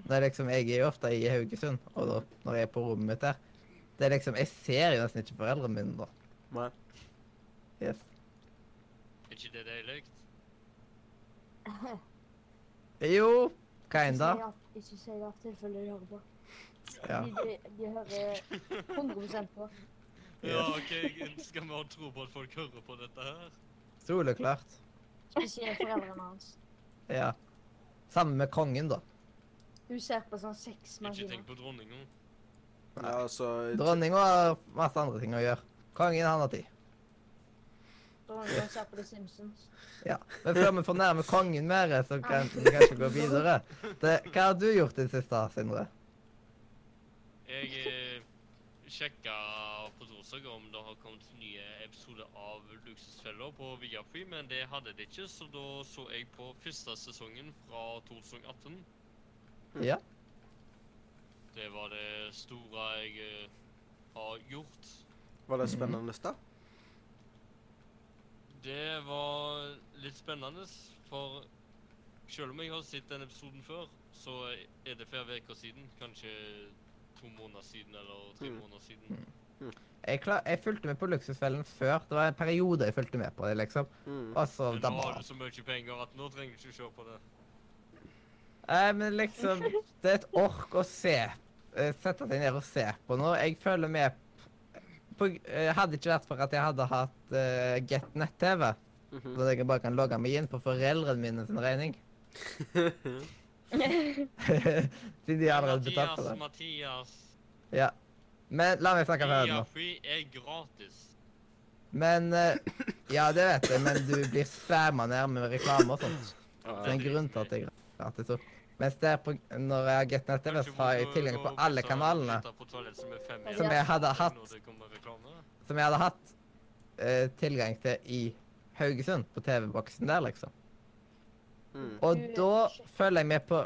S1: Det er liksom, jeg er jo ofte i Haugesund, og da, når jeg er på rommet mitt der, det er liksom, jeg ser jo nesten ikke foreldrene mine da.
S3: Nei.
S1: Yes.
S4: Er ikke det deilig?
S1: Jo, kinda.
S2: Ikke si ja- Ikke si ja, tilfelle de hører på.
S1: Ja.
S2: De, de, de hører 100 på.
S4: Ja, ok, skal vi ha tro på at folk hører på dette her?
S1: Soleklart.
S2: Spesielt foreldrene hans.
S1: Ja. Sammen med kongen, da.
S2: Hun ser på sånn seks
S4: Ikke
S2: maskiner.
S4: tenk på dronninga.
S3: Ja, altså,
S1: Dronninga har masse andre ting å gjøre. Kongen han har tid.
S2: Dronningen ser på The Simpsons.
S1: Ja. Men før vi fornærmer kongen mer, så kan vi kanskje gå videre. Det, hva har du gjort i det siste, Sindre?
S4: Jeg eh, sjekka på torsdag om det har kommet nye episoder av Luksusfeller på Viaplay, men det hadde det ikke, så da så jeg på første sesongen fra 2018.
S1: Ja.
S4: Det var det store jeg eh, har gjort.
S3: var det spennende da?
S4: Det var litt spennende, for selv om jeg har sett den episoden før, så er det flere uker siden. Kanskje to måneder siden eller tre
S3: Mm.
S4: måneder siden.
S1: Jeg, klar, jeg fulgte med på Luksusfellen før. Det var en periode jeg fulgte med på det, liksom.
S3: Mm.
S1: Og så
S4: Men nå
S1: dabba
S4: har
S1: av.
S4: du så mye penger at nå trenger du ikke se på det.
S1: Nei, men liksom Det er et ork å se. eh, Sette seg ned og se på noe. Jeg følger med på, eh, Hadde ikke vært for at jeg hadde hatt eh, Get nett-TV,
S3: Mhm.
S1: hvor jeg bare kan logge meg inn på foreldrene mine sin regning Siden de allerede betalte altså. for
S4: Mathias,
S1: det.
S4: Mathias.
S1: Ja. Men la meg snakke ferdig nå.
S4: Viafree er gratis.
S1: Men eh, Ja, det vet jeg, men du blir spamma ned med reklame og sånt. Så det er en grunn til at jeg gratis opp. Mens der på, når jeg har Get Net TV, så har jeg tilgang på alle kanalene
S2: Som
S1: jeg hadde hatt.
S4: Når det kommer reklame.
S1: som jeg hadde hatt eh, tilgang til i Haugesund, på TV-boksen der, liksom.
S3: Mm.
S1: Og da følger jeg med på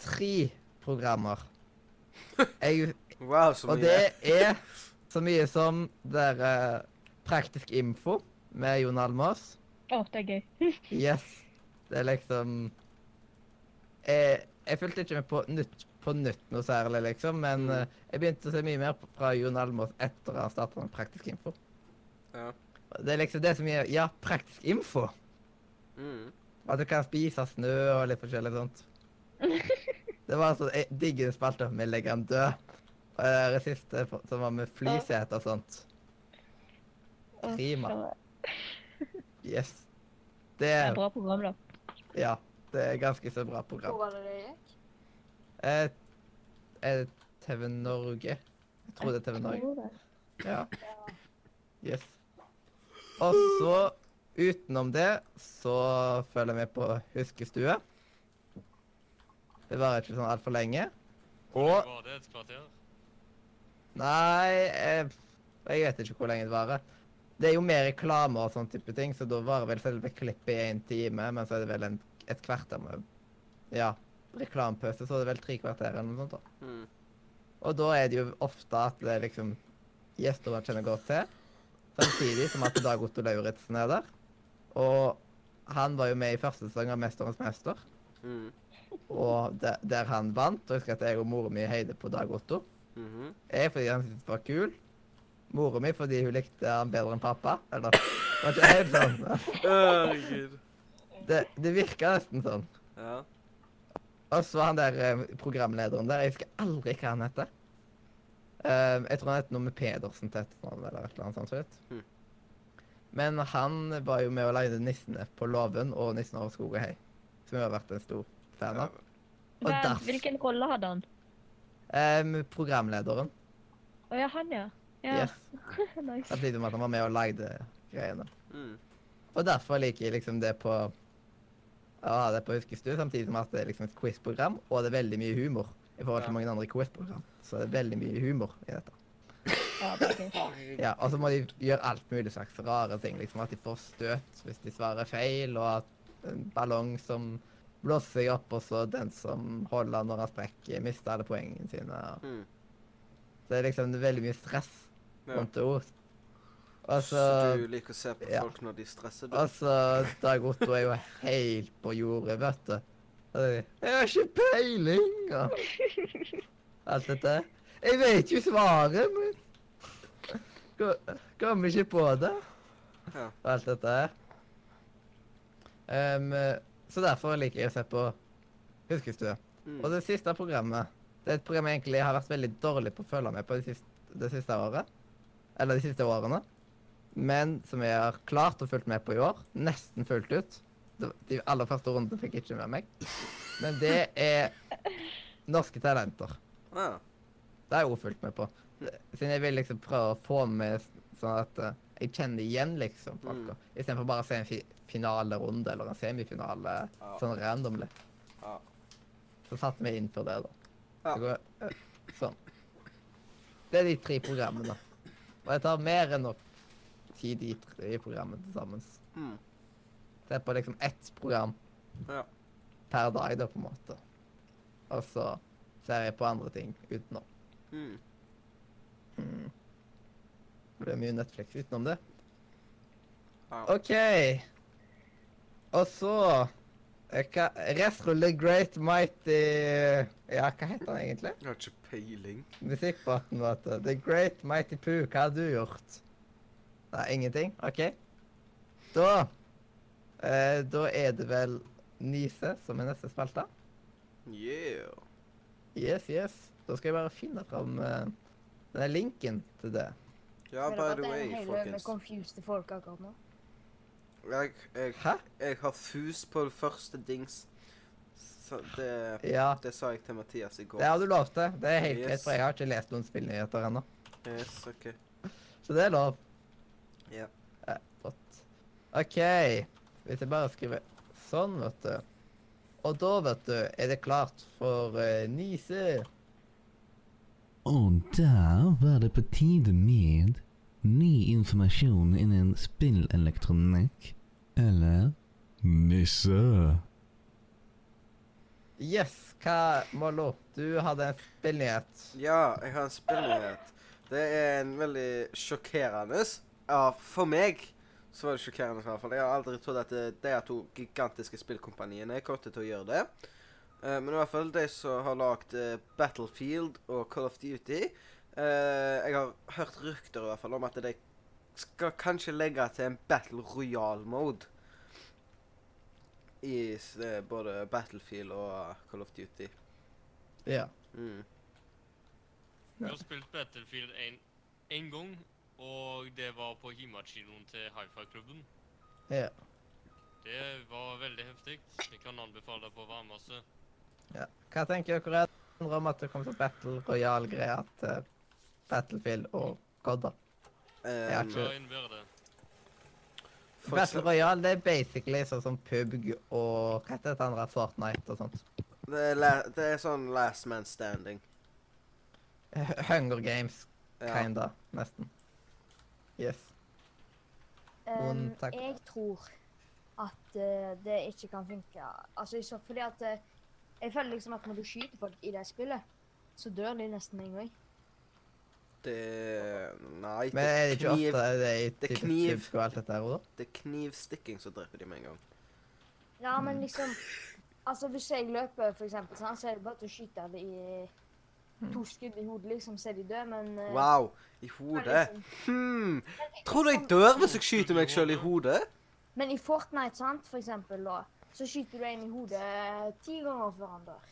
S1: tre programmer. Jeg,
S3: Wow, så
S1: og
S3: mye.
S1: det er så mye som der eh, Praktisk info med Jon Almaas.
S5: Å, det er gøy.
S1: Yes. Det er liksom Jeg, jeg fulgte ikke med på nytt på nytt noe særlig, liksom, men
S3: Mm.
S1: eh, jeg begynte å se mye mer på- fra Jon Almaas etter han starta med Praktisk info.
S3: Ja.
S1: Og Det er liksom det som gir Ja, praktisk info.
S3: Mm.
S1: At du kan spise snø og litt forskjellig sånt. Det var altså jeg digger spalter med legendø. Og det der siste for- som var med flysete og sånt.
S5: Å,
S1: Prima.
S5: så-
S1: Yes. Det
S5: Det er et
S1: er
S5: bra program, da.
S1: Ja. Det er ganske så bra
S2: Hvor
S1: program.
S2: var det det gikk?
S1: Eh, er det TV Norge? Jeg tror det er TV Norge.
S5: Tror det.
S1: Ja. Yes. Og så, utenom det, så følger jeg med på Huskestue. Det varer ikke sånn altfor lenge.
S4: Hvor
S1: Og
S4: lenge var det? Et kvarter?
S1: Nei, jeg, jeg vet ikke hvor lenge det varer. Det er jo mer reklame og sånn type ting, så da varer vel selve klippet i en time, men så er det vel en, et kvarter med Ja, reklamepause, så er det vel tre kvarter eller noe sånt. da.
S3: Mm.
S1: Og da er det jo ofte at det er liksom gjester man kjenner godt til. Samtidig som at Dag Otto Lauritzen er der. Og han var jo med i første sesong av 'Mesterens mester',
S3: Mm.
S1: og der, der han vant. Og jeg husker at jeg og mora mi heide på Dag Otto.
S3: Mhm.
S1: Jeg fordi han syntes det var kul. Mora mi fordi hun likte han bedre enn pappa. Eller det var ikke helt sånn. men
S3: Herregud.
S1: Det, det virka nesten sånn.
S3: Ja.
S1: Og så han der eh, programlederen der, jeg husker aldri hva han heter. Eh, jeg tror han heter noe med Pedersen til etternavn eller et eller annet sånt.
S3: Hmm.
S1: vet. Men han var jo med og lagde 'Nissene på låven' og 'Nissen over skog og hei', som jeg har vært en stor fan av. Og
S5: Hva-
S1: derf-
S5: Hvilken rolle hadde han?
S1: Em, Eh, programlederen.
S5: Å ja, han, ja. Ja,
S1: Yes.
S5: nice.
S1: Samtidig med at han var med og lagde greiene.
S3: Mm.
S1: Og derfor liker jeg liksom det på å ha det på Huskestue, samtidig som at det er liksom et quiz-program, og det er veldig mye humor. I forhold til
S3: Ja.
S1: mange andre quiz-program, så det er veldig mye humor i dette.
S5: Ja, det er gøy.
S1: Ja, og så må de gjøre alt mulig slags rare ting, liksom at de får støt hvis de svarer feil, og at en ballong som blåser seg opp, og så den som holder når han sprekker, mister alle poengene sine. og-
S3: Mm.
S1: Så det er liksom veldig mye stress
S3: Ja.
S1: rundt ord. Og
S3: Så du
S1: så,
S3: liker å se på
S1: altså- ja. Altså,
S3: folk når de stresser? Altså, Du.
S1: og så Dag Otto er jo helt på jordet, vet du. Og det er, Jeg har ikke peiling! Og alt dette. Jeg vet jo svaret, men Ko- Kommer ikke på det.
S3: Ja.
S1: og alt dette her. Ehm, så derfor liker jeg å se på Huskes du?
S3: Mm.
S1: Og det siste programmet Det er et program jeg egentlig har vært veldig dårlig på å følge med på det siste, det siste året. Eller de siste årene. Men som jeg har klart å fulgt med på i år. Nesten fullt ut. Det- De aller første rundene fikk jeg ikke med meg. Men det er Norske Talenter.
S3: Ah,
S1: Det har jeg også fulgt med på. Det- Siden jeg vil liksom prøve å få med s- sånn at eh, jeg kjenner igjen
S3: Mm.
S1: liksom folka. Istedenfor bare å se en fi finalerunde eller en semifinale
S3: Ja.
S1: sånn randomly.
S3: Ja.
S1: Så satte vi inn for det, da.
S3: Ja.
S1: Så går, eh, sånn. Det er de tre programmene. Og jeg tar mer enn nok tid i de tre programmene til sammen.
S3: Mm.
S1: Se på liksom ett program
S3: Ja.
S1: per dag, da, på en måte. Og så ser jeg på andre ting utenom.
S3: Mm.
S1: Mm. Det blir mye Netflix utenom det.
S3: Ja.
S1: OK. Og så eh, hva, Restro the Great Mighty Ja, hva heter han egentlig?
S3: Jeg har ikke peiling.
S1: Musikkbåten, vet du. The Great Mighty Poo, hva har du gjort? Nei, ingenting? OK. Da eh, Da er det vel Nise som er neste spalte.
S3: Yeah.
S1: Yes, yes. Da skal jeg bare finne fram eh, denne linken til det.
S3: Ja,
S2: Føler bare
S3: by
S2: at
S3: the
S2: det er en
S3: way,
S2: hel haug med
S3: folkens.
S2: confused folk akkurat nå.
S3: Jeg, jeg,
S1: Hæ?
S3: jeg har fus på det første dings. Så det,
S1: Ja.
S3: det sa jeg til Mathias i går.
S1: Det har du lov til. Det er helt
S3: Yes.
S1: greit, for jeg har ikke lest noen spillnyheter ennå.
S3: Yes, ok.
S1: Så det er lov.
S3: Ja.
S1: Eh, Flott. OK. Hvis jeg bare skriver sånn, vet du. Og da, vet du, er det klart for eh, Nise.
S6: Og der var det på tide med ny informasjon innen spillelektronikk. Eller nisse.
S1: Yes, hva Mollo? Du hadde en spillnyhet.
S3: Ja, jeg har en spillnyhet. Det er en veldig sjokkerende Ja, for meg så var det sjokkerende i hvert fall. Jeg har aldri trodd at det- de her to gigantiske spillkompaniene kom til å gjøre det. Eh, men i hvert fall de som har lagd eh, Battlefield og Call of Duty eh, Jeg har hørt rykter i hvert fall om at de skal kanskje legge til en Battle Royal-mode. I s- eh, både Battlefield og Call of Duty.
S1: Ja.
S3: Mm.
S4: Jeg har spilt Battlefield 1 én gang, og det var på Himakinoen til Hi-Fi-klubben.
S1: Ja.
S4: Det var veldig heftig. Jeg kan anbefale deg på varmeste.
S1: ja. Hva tenker dere andre om at det kommer til Battle Royal-greia til Battlefield og Codda?
S3: Eh,
S1: ikke-
S4: Hva innebærer det?
S3: for
S1: Battle
S3: eksem-
S1: Royale det er basically sånn som PUBG og hva heter det andre, Fortnite og sånt.
S3: Det er, la det er sånn last man standing.
S1: H- Hunger Games,
S3: Ja.
S1: kinda, nesten. Yes.
S2: Um,
S1: Noen takk.
S2: jeg tror at eh, det ikke kan funke. Altså, ikke fordi at eh, Jeg føler liksom at når du skyter folk i det spillet, så dør de nesten en gang.
S3: Det Nei,
S1: Men er det ikke ofte det er i
S3: det er
S1: typisk
S3: kniv.
S1: PUBG og alt dette her også?
S3: det er knivstikking som dreper de med en gang.
S2: Ja, men liksom Altså, hvis jeg løper, for eksempel, sånn, så er det bare til å skyte det i to skudd i hodet, liksom, så er de døde, men eh,
S3: Wow! I
S2: men
S3: hodet.
S2: liksom-
S3: Hm. Tror du jeg dør hvis jeg skyter meg sjøl i hodet?
S2: Men i Fortnite, sant, for eksempel, da, så skyter du en i hodet eh, ti ganger før han dør.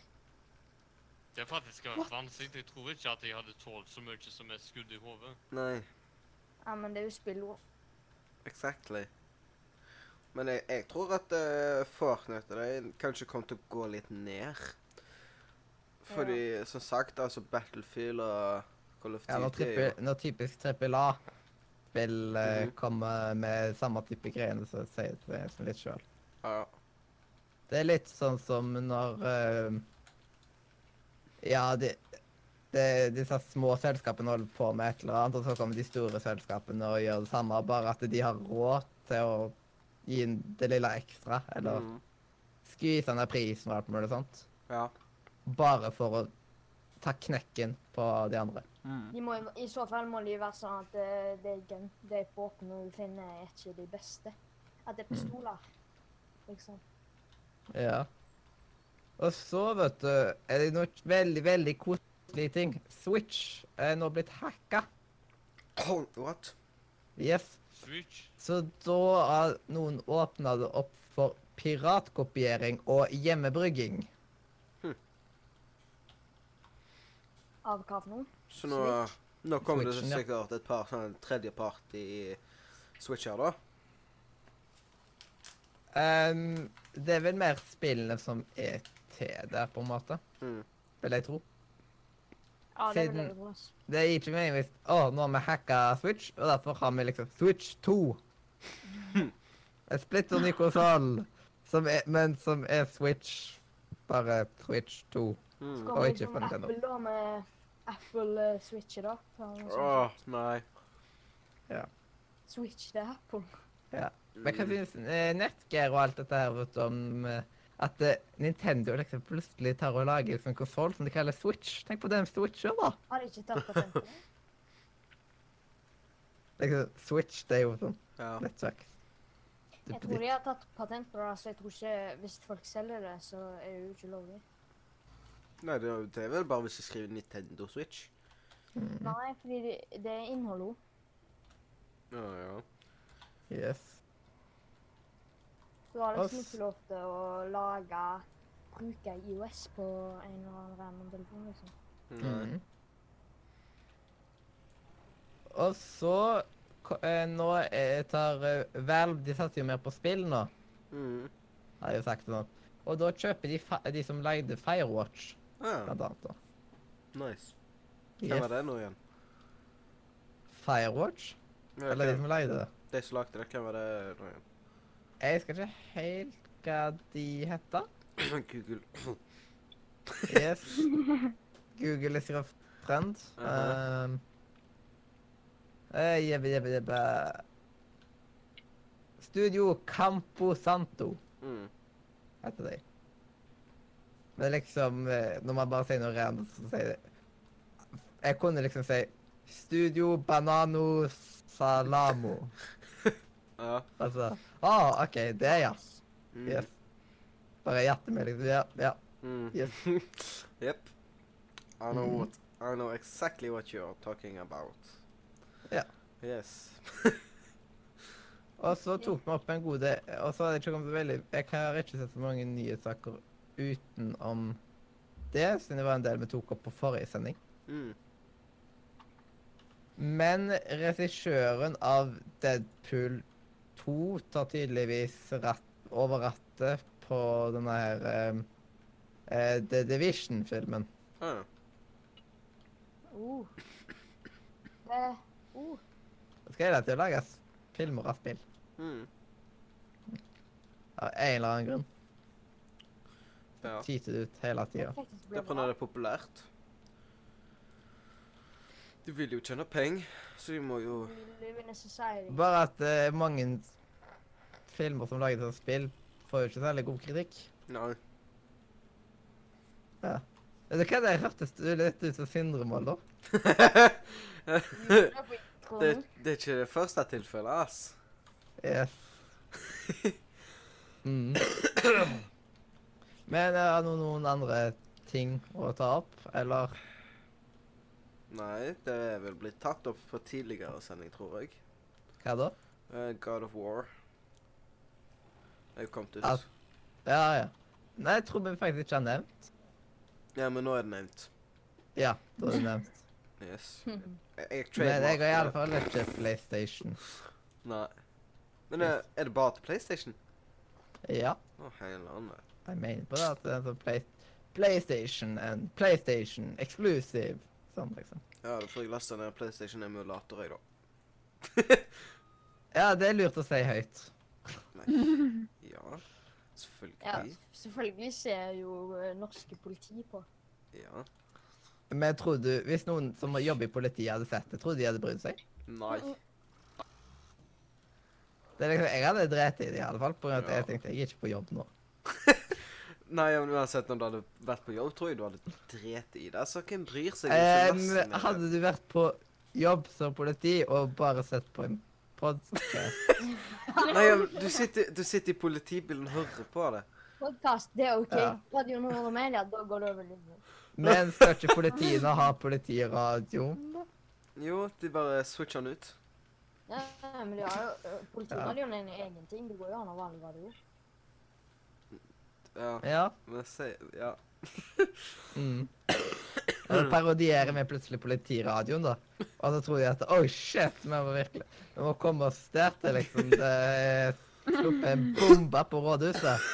S4: Det er faktisk ganske vanskelig. Jeg tror ikke at jeg hadde tålt så mye som et skudd i hodet.
S3: Nei,
S2: Ja, men det er jo spillord.
S3: exactly. Men jeg, jeg tror at uh, Fortnite og de kanskje kommer til å gå litt ned. Fordi, som sagt, altså Battlefield og Call of
S1: Ja, når,
S3: Duty er
S1: trippel,
S3: jo-
S1: når typisk trippel A vil eh,
S3: Mhm.
S1: komme med samme type greiene, så sier jeg det som litt sjøl.
S3: ja.
S1: Det er litt sånn som når eh, Ja, de, de, disse små selskapene holder på med et eller annet, og så kommer de store selskapene og gjør det samme, bare at de har råd til å gi inn det lille ekstra, eller
S3: Mm.
S1: skvise ned prisen og alt mulig sånt.
S3: Ja.
S1: Bare for å ta knekken på de andre.
S2: De må, jo- I så fall må det jo være sånn at eh, det er gun, de våpnene du finner, er ikke de beste. At det er pistoler, liksom.
S1: Ja. Og så, vet du, er det noe veldig, veldig koselig ting. Switch er nå blitt hacka.
S3: Oh, What?
S1: Yes.
S4: Switch.
S1: Så da har noen åpna det opp for piratkopiering og hjemmebrygging.
S2: av hva for noe?
S3: Så nå, nå kommer det
S1: Switchen, ja.
S3: sikkert et par sånn tredjepart i Switch her, da.
S1: Ehm, det er vel mer spillene som er til der, på en måte.
S3: Mm.
S1: Vil jeg tro.
S2: Ja, det vil
S1: Siden-
S2: jeg tro. ass.
S1: Det gir ikke mening hvis Å, nå har vi hacka Switch, og derfor har vi liksom Switch 2. En splitter ny konsoll, som er- men som er Switch. Bare Switch 2.
S2: Så
S1: Og
S3: Mm.
S2: kommer
S1: ikke
S2: liksom
S1: for Nintendo.
S2: Apple da med Apple eh, Switch da. for han er sånn.
S3: Åh, nei.
S2: Switch det er Apple.
S1: Men hva synes eh, Netgear og alt dette her vet du, om eh, at eh, Nintendo liksom plutselig tar og lager liksom en konsoll som de kaller Switch? Tenk på den Switchen, da!
S2: Har ikke tatt patenten.
S1: Liksom, Switch, det er jo sånn
S3: Ja.
S1: nettverk.
S2: Jeg tror de har tatt patent på det, så jeg tror ikke hvis folk selger det, så er det jo ikke lovlig.
S3: Nei, det er- det er vel bare hvis jeg skriver Nintendo Switch.
S1: Mhm.
S2: Nei, fordi det, det er innholdet òg.
S3: Ja, ja.
S1: Yes.
S2: Du har liksom
S1: Ass.
S2: ikke lov til å lage bruke IOS på en eller annen random telefon, liksom.
S3: Nei.
S1: Mhm. Og så ko- eh, Nå eh, tar eh, Valve De satser jo mer på spill nå,
S3: Mm.
S1: har jeg jo sagt nå. Og da kjøper de fa de som lagde Firewatch,
S3: Ja,
S1: blant annet. da.
S3: Ah, nice. Hvem var
S1: Yes.
S3: det nå igjen?
S1: Firewatch?
S3: Ja,
S1: Eller de
S3: hvem-
S1: som lagde det?
S3: De som lagde det, hvem var det nå
S1: Jeg husker ikke helt hva de heter.
S3: igjen? Google.
S1: Yes. Google is your friend.
S3: Aha.
S1: Um, eh, jebbe, jebbe, jebbe. Studio Campo Santo.
S3: Mm.
S1: heter de. Men liksom, eh, når man bare sier noe rent, så sier det Jeg kunne liksom si Studio Banano Salamo.
S3: Ja.
S1: Altså ah, OK, det, ja.
S3: Mm.
S1: Yes. Bare hjertet mitt, liksom. Ja. ja.
S3: Mm.
S1: Yes.
S3: yep. I know
S1: Mhm.
S3: what I know exactly what you're talking about.
S1: Ja.
S3: Yes.
S1: Og så tok vi opp en god del Og så har det ikke kommet så veldig Jeg har ikke sett så mange nyhetssaker utenom det, siden det var en del vi tok opp på forrige sending.
S3: Mm.
S1: Men regissøren av Deadpool 2 tar tydeligvis ratt, over rattet på denne her eh, eh, The Division-filmen.
S3: Ah,
S2: Oh. Det, oh.
S1: Skal jeg da til å lage s- filmer av spill?
S3: mm.
S1: Av en eller annen grunn.
S3: Ja.
S1: Tyter det ut hele
S2: Det
S1: tida.
S2: faktisk
S3: Det
S2: ble
S3: er på
S2: bra.
S3: når det er populært. De vil jo tjene penger, så de må jo
S2: Live in a society.
S1: Bare at eh, mange s- filmer som lages av spill, får jo ikke særlig god kritikk.
S3: Nei.
S1: Vet du hva det hørtes litt ut som Sindre-mål, da?
S2: Det er på
S3: det,
S2: introen.
S3: det er ikke det første tilfellet, ass.
S1: Yes. Mm. Men er det noen andre ting å ta opp, eller?
S3: Nei, det er vel blitt tatt opp på tidligere sending, tror jeg.
S1: Hva da?
S3: Eh, God of War. Det er jo kommet ut.
S1: Ja. Ja, ja. Nei, jeg tror vi faktisk ikke har nevnt.
S3: Ja, men nå er det nevnt.
S1: Ja, da er det nevnt.
S3: Yes.
S2: Mhm.
S3: Jeg, jeg
S1: Men jeg har i alle
S3: trademarker det.
S1: fall ikke PlayStation.
S3: Nei. Men eh, er det bare til PlayStation?
S1: Ja,
S3: Å, hele landet.
S1: jeg mener på det at det er sånn play PlayStation and PlayStation Exclusive. Sånn, liksom.
S3: Ja, da får jeg laste ned PlayStation-emulator, jeg, da.
S1: Ja, det er lurt å si høyt.
S3: ja, selvfølgelig.
S2: Ja, selvfølgelig ser jo eh, norske politi på.
S3: Ja.
S1: Men jeg trodde, hvis noen som jobber i politiet hadde sett det, trodde de hadde brydd seg.
S3: Nei.
S1: Det er liksom, jeg hadde drept i det i alle fall, på grunn av at
S3: Ja.
S1: jeg tenkte jeg er ikke på jobb nå.
S3: Nei, men uansett om du hadde vært på jobb, tror jeg du hadde dret i det. Så hvem bryr seg?
S1: Em,
S3: hvis du laster ned det?
S1: hadde du vært på jobb som politi og bare sett på en podkast
S3: Nei, ja, men du sitter, du sitter i politibilen og hører på det.
S2: Podcast, det er ok.
S1: Ja.
S2: Radio Nord og Media, da går det over linjen.
S1: Men skal ikke politiene ha politiradio?
S3: Jo, de bare switcher den ut.
S2: Ja, men det er jo, eh, politiradioen er en egen ting. Det går jo an å ha vanlig radio.
S3: Ja,
S1: Ja.
S3: men se, ja.
S1: Mm. Og så parodierer vi plutselig politiradioen, da. Og så tror de at Oi, shit, vi må virkelig Vi må komme oss der til, liksom. Det er sluppet en bombe på rådhuset.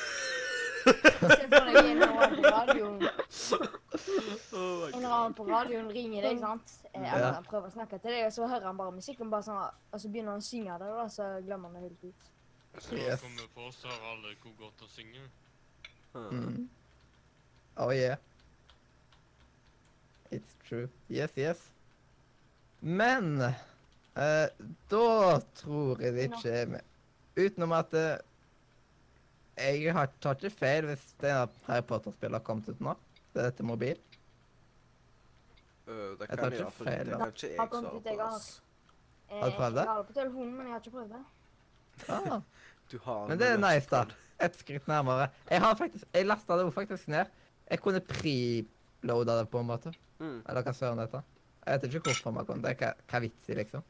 S2: Se for deg en eller annen på radioen.
S3: Oh
S2: En eller annen på radioen ringer deg, sant? Eh, Eller han prøver å snakke til deg, og så hører han bare musikk, og, bare sånn, og så begynner han å synge det, da, så glemmer han det helt ut.
S4: Så
S1: Yes.
S4: kommer på, så har alle hvor godt å synge.
S3: Hm.
S1: Mm. Oh yeah. It's true. Yes, yes. Men eh, da tror jeg det ikke er med. Utenom at eh, jeg har tar ikke feil hvis denne Harry Potter-spillet har kommet ut nå. Det er til mobil.
S3: Øh, det
S1: Jeg
S3: kan
S1: tar
S3: jeg
S1: ikke
S3: iallfall ikke.
S1: feil,
S3: Det
S1: da.
S3: kan ikke
S2: Har
S3: jeg
S2: kommet
S3: svare
S2: ut, jeg
S3: på.
S2: har.
S3: ass.
S2: Eh,
S1: Har du prøvd det?
S2: Jeg har det på telefonen, men jeg har ikke prøvd det.
S1: Ah,
S3: Du har
S1: men det er
S3: en
S1: nice, da.
S3: løsning.
S1: Et skritt nærmere. Jeg har faktisk, jeg lasta det jo faktisk ned. Jeg kunne preloada det, på en måte.
S3: Mm.
S1: Eller hva søren det heter. Jeg vet ikke hvorfor man kan det. er Hva, hva er vits i, liksom?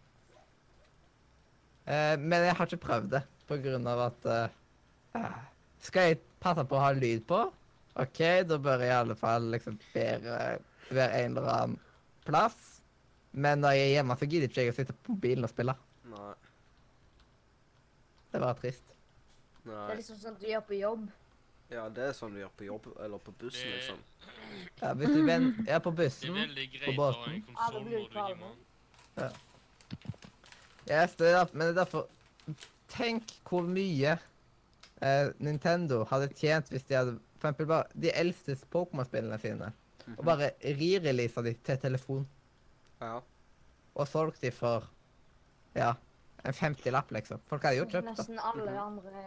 S1: Eh, men jeg har ikke prøvd det, på grunn av at eh, eh, Skal jeg passe på å ha lyd på? OK, da bør jeg i alle fall liksom være, være en eller annen plass. Men når jeg er hjemme, så gidder ikke jeg å sitte på mobilen og spille.
S3: Nei.
S1: Det er bare trist.
S2: Det er
S3: Nei.
S2: liksom sånn at du gjør på jobb.
S3: Ja, det er sånn du gjør på jobb eller på bussen,
S4: Det-
S3: liksom.
S1: Ja, hvis du ven, jeg er på
S4: Det er
S1: bussen
S4: veldig greit å
S1: På
S4: ha en
S1: båten?
S2: Ja, det
S4: konsoll
S2: blir
S4: når du er hjemme.
S1: Yes, det er derf- men det er derfor Tenk hvor mye eh, Nintendo hadde tjent hvis de hadde For eksempel bare de eldste Pokémon-spillene sine. Og bare re-releasa de til telefon.
S3: Ja.
S1: Og solgt de for ja, en 50-lapp, liksom. Folk hadde jo
S2: Sånn
S1: kjøpt
S2: som
S1: det.
S2: Nesten alle andre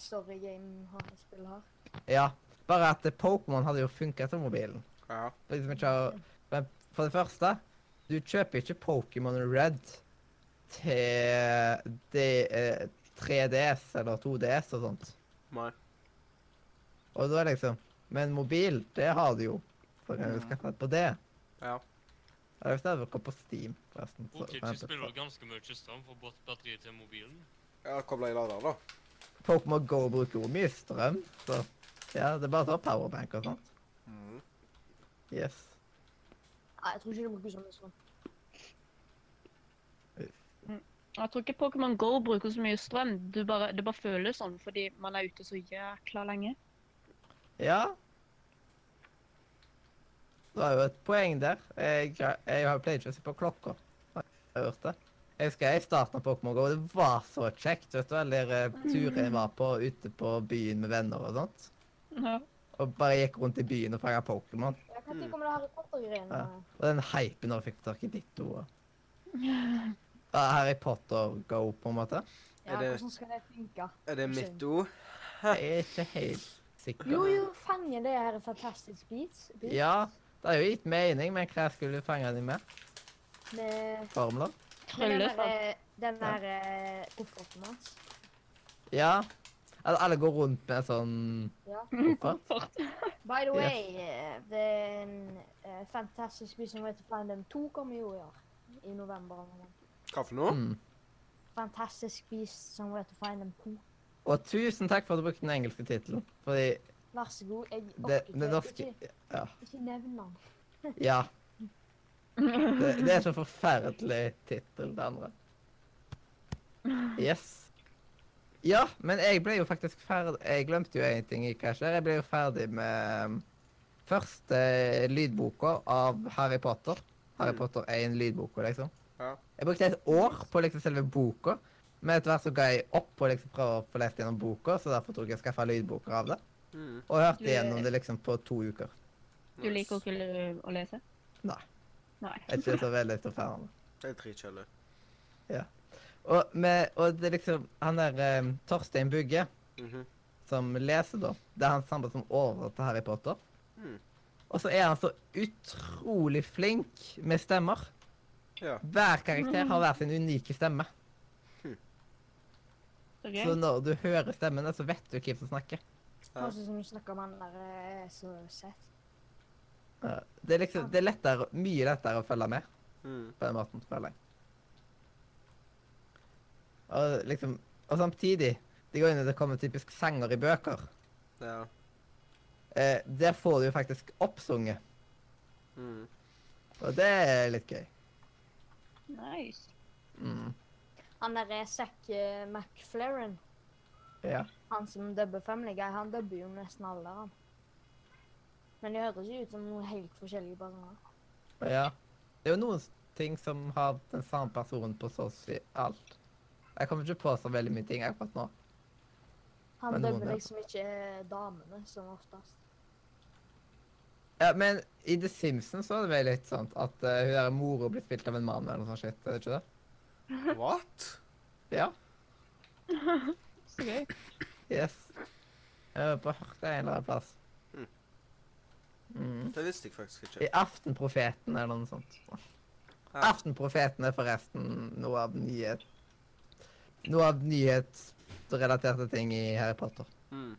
S2: story game har spill har.
S1: Ja, Bare at eh, Pokémon hadde jo funka som mobilen.
S3: ja.
S1: For, de som ikke har, men for det første, du kjøper ikke Pokémon Red til D- eh, 3DS eller 2DS og sånt.
S3: Nei.
S1: Og da er liksom Men mobil, det har du jo. Så kan du
S3: Ja.
S1: skaffe på det.
S3: Ja.
S1: Eller hvis det hadde vært på Steam, forresten. så
S4: Bruker
S1: kan
S4: ikke
S1: jeg
S4: spiller
S1: ikke-
S4: ganske mye strøm for bort batteriet til mobilen.
S3: Ja, kobla i lader, da.
S1: Pokémon Go bruker jo mye strøm, så Ja, det er bare å ta powerbank og sånt.
S3: Mm.
S1: Yes.
S2: Nei, jeg tror ikke det bruker sånn. sånn.
S5: Jeg tror ikke Pokémon Go bruker så mye strøm. Du bare, det bare føles sånn fordi man er ute så jækla lenge.
S1: Ja. Det var jo et poeng der. Jeg, gra- jeg har pleid ikke å se på klokka. Jeg har gjort det. Jeg husker jeg starta Pokémon GO, og det var så kjekt. vet du, Alle de eh, turer jeg var på ute på byen med venner og sånt.
S5: Ja.
S1: Og bare gikk rundt i byen og fanga Pokémon.
S2: Jeg kan ikke komme det Harry Potter-greiene.
S1: Ja. Og den hypen når jeg fikk tak i ditt ord. Harry Potter Go, på en måte.
S2: Ja,
S3: Er det-
S2: hvordan skal det funke?
S3: Er det mitt ord?
S1: Jeg er ikke helt sikker.
S2: Jo, jo, fange det her er fantastisk bit. bit
S1: Ja, det har jo gitt mening, men hva skulle du fange dem med?
S2: Med
S1: Formler?
S2: med den
S5: Krøller.
S2: der, den der eh, kofferten hans.
S1: Ja. At alle går rundt med sånn
S2: Ja.
S1: koffert?
S2: By the
S1: Yes.
S2: way, eh, det er en eh, fantastisk by som heter Fandom 2 kommer jo i år. I november. eller noe.
S3: Hva for noe?
S1: Mm.
S2: Fantastisk beast som heter Fandom 2.
S1: Og tusen takk for at du brukte den engelske tittelen. Fordi
S2: Vær så god. Jeg
S1: det,
S2: orker
S1: det norske
S2: Ikke,
S1: Ja.
S2: ikke nevn den.
S1: ja. Det, det er så forferdelig tittel, det andre. Yes. Ja, men jeg ble jo faktisk ferdig Jeg glemte jo en ting i Crash her. Jeg ble jo ferdig med um, første lydboka av Harry Potter. Harry Potter 1-lydboka, liksom.
S3: Ja.
S1: Jeg brukte et år på liksom selve boka, men etter hvert så ga jeg opp og liksom prøve å få lest gjennom boka, så derfor tror jeg jeg skaffa lydboker av det.
S3: Mm.
S1: Og
S5: Du-
S1: hørte gjennom det liksom på to uker.
S5: Du liker ikke l- å lese?
S1: Nei.
S5: Nei.
S1: Jeg er ikke så veldig stor fan av det.
S3: Det er dritkjedelig.
S1: Og, med, og det er liksom Han der eh, Torstein Bugge,
S3: Mhm.
S1: som leser, da, det er han samme som oversatte Harry Potter.
S3: Mm.
S1: Og så er han så utrolig flink med stemmer.
S3: Ja.
S1: Hver karakter har hver sin unike stemme.
S5: Ok.
S1: Så når du hører stemmene, så vet du hvem som snakker.
S3: Ja.
S2: Kanskje som du snakker om han der eh, så sett.
S1: Ja, Det er liksom, det er lettere, mye lettere å følge med
S3: Mm.
S1: på den måten, føler jeg. Og liksom, og samtidig Det går inn i det kommer typisk sanger i bøker.
S3: Ja.
S1: Eh, der får du jo faktisk oppsunget.
S3: Mm.
S1: Og det er litt gøy.
S5: Nice.
S1: Mm.
S2: Han derre Zack eh, McFlaren,
S1: Ja.
S2: han som dubber Family Guy, han dubber jo nesten alle, han. Men de høres jo ut som noen helt forskjellige personer.
S1: ja. Det er jo noen ting som har den samme personen på så å si alt. Jeg kommer ikke på så veldig mye ting akkurat nå.
S2: Han
S1: Men noen
S2: dubber
S1: er-
S2: liksom ikke eh, damene, som oftest.
S1: Ja, men i The Simpsons var det vel litt sånn at eh, hun der mora ble spilt av en mann eller noe sånt shit, er det ikke det?
S3: What?
S1: Ja.
S5: Så gøy.
S1: Yes. Jeg har bare hørt det en eller annen plass.
S3: Mm.
S1: Mm.
S3: Det visste jeg faktisk ikke.
S1: I Aftenprofeten eller noe sånt.
S3: Ja.
S1: Aftenprofeten er forresten noe av nyhet... Noe av nyhetsrelaterte ting i Harry Potter.
S3: Mm.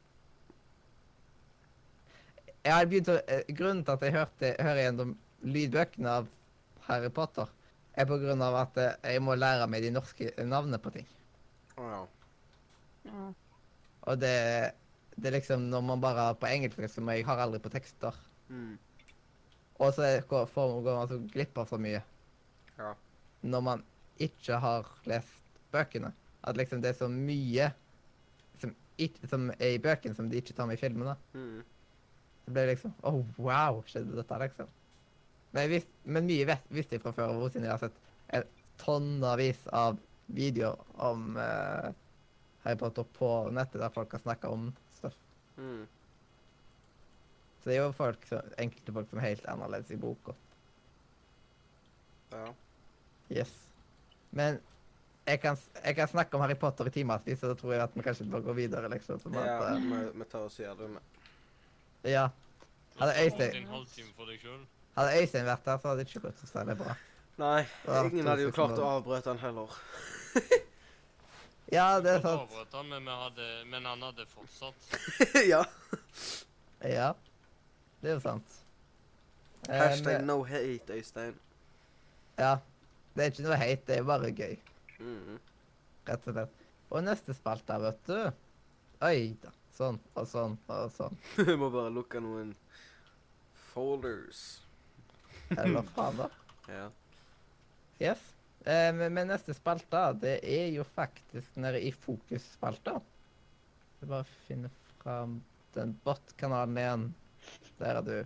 S1: Jeg hadde begynt å... eh, Grunnen til at jeg hørte, hører gjennom lydbøkene av Harry Potter, er på grunn av at eh, jeg må lære meg de norske navnene på ting.
S3: Å ja.
S5: Ja.
S1: Og det, det er liksom når man bare har på engelsk, liksom, og jeg har aldri på tekster.
S3: Mm.
S1: Og så er- går får- går man altså glipp av så mye.
S3: Ja.
S1: Når man ikke har lest bøkene. At liksom det er så mye som, ikke, som er i bøkene, som de ikke tar med i filmene.
S3: Mm.
S1: Det ble liksom Oh, wow, skjedde dette, liksom? Men, jeg vis- men mye vet, visste jeg fra før av, siden jeg har sett eh, tonnavis av videoer om eh, Harry Potter på nettet, der folk har snakka om stuff.
S3: Mm.
S1: Så det er jo folk, som- enkelte folk som er helt annerledes i boka.
S3: Ja.
S1: Yes. Men jeg kan, jeg kan snakke om Harry Potter i timevis, så da tror jeg at vi kanskje bør gå videre, liksom. Som
S3: ja
S1: at,
S3: vi, vi tar oss og gjør det med.
S1: eh, ja. Hadde Øystein-
S4: en halvtime for deg sjøl.
S1: Hadde Øystein vært her, så hadde det ikke gått så særlig bra.
S3: Nei,
S1: Ja,
S3: ingen hadde jo
S1: tusen
S3: klart
S1: takk.
S3: å avbrøte han heller.
S1: Ja, det er sant.
S4: Men, vi hadde- men han hadde fortsatt.
S3: ja.
S1: Ja. Det er jo sant. Eh,
S3: Hashtag
S1: men- eh,
S3: no hate, Øystein.
S1: Ja. Det er ikke noe hate, det er bare gøy,
S3: Mm.
S1: rett og slett. Og neste spalte, her, vet du. Oi da. Sånn og sånn og sånn.
S3: Vi må bare lukke noen folders.
S1: Eller faen, da.
S3: Ja.
S1: Yes. Eh, men, men neste spalte, det er jo faktisk nede i fokusspalta. Jeg bare finner fram den bot-kanalen igjen. Der er du.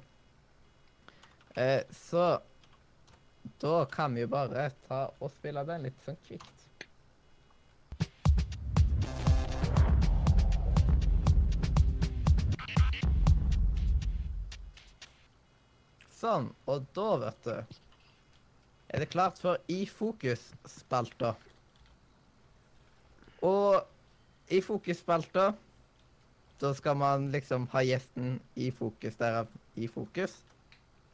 S1: Eh, så da kan vi jo bare ta og spille den litt sånn kvikt. Sånn. Og da, vet du er det klart for I fokus-spalta. Og i fokus-spalta da skal man liksom ha gjesten i fokus, derav i fokus.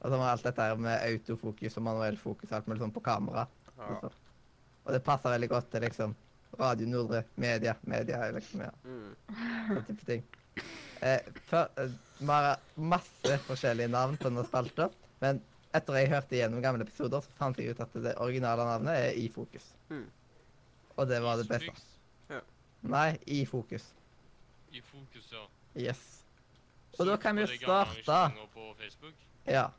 S1: Og så har man alt dette her med autofokus og manuell fokus alt mulig sånn på kamera.
S3: ja.
S1: Liksom. Og det passer veldig godt til liksom Radio Nordre, media, media er liksom ja,
S3: Mm.
S1: sånn type ting. Eh, før, eh, vi har masse forskjellige navn på denne spalta, men etter jeg hørte igjennom gamle episoder, så fant jeg ut at det originale navnet er I fokus.
S3: Mm.
S1: Og det var det beste. Nei, I fokus.
S4: I fokus, ja.
S1: Yes. Og da
S4: Søk
S1: kan vi
S4: på
S1: jo
S4: de gamle
S1: starte.
S4: arrangementer På Facebook.
S1: Ja.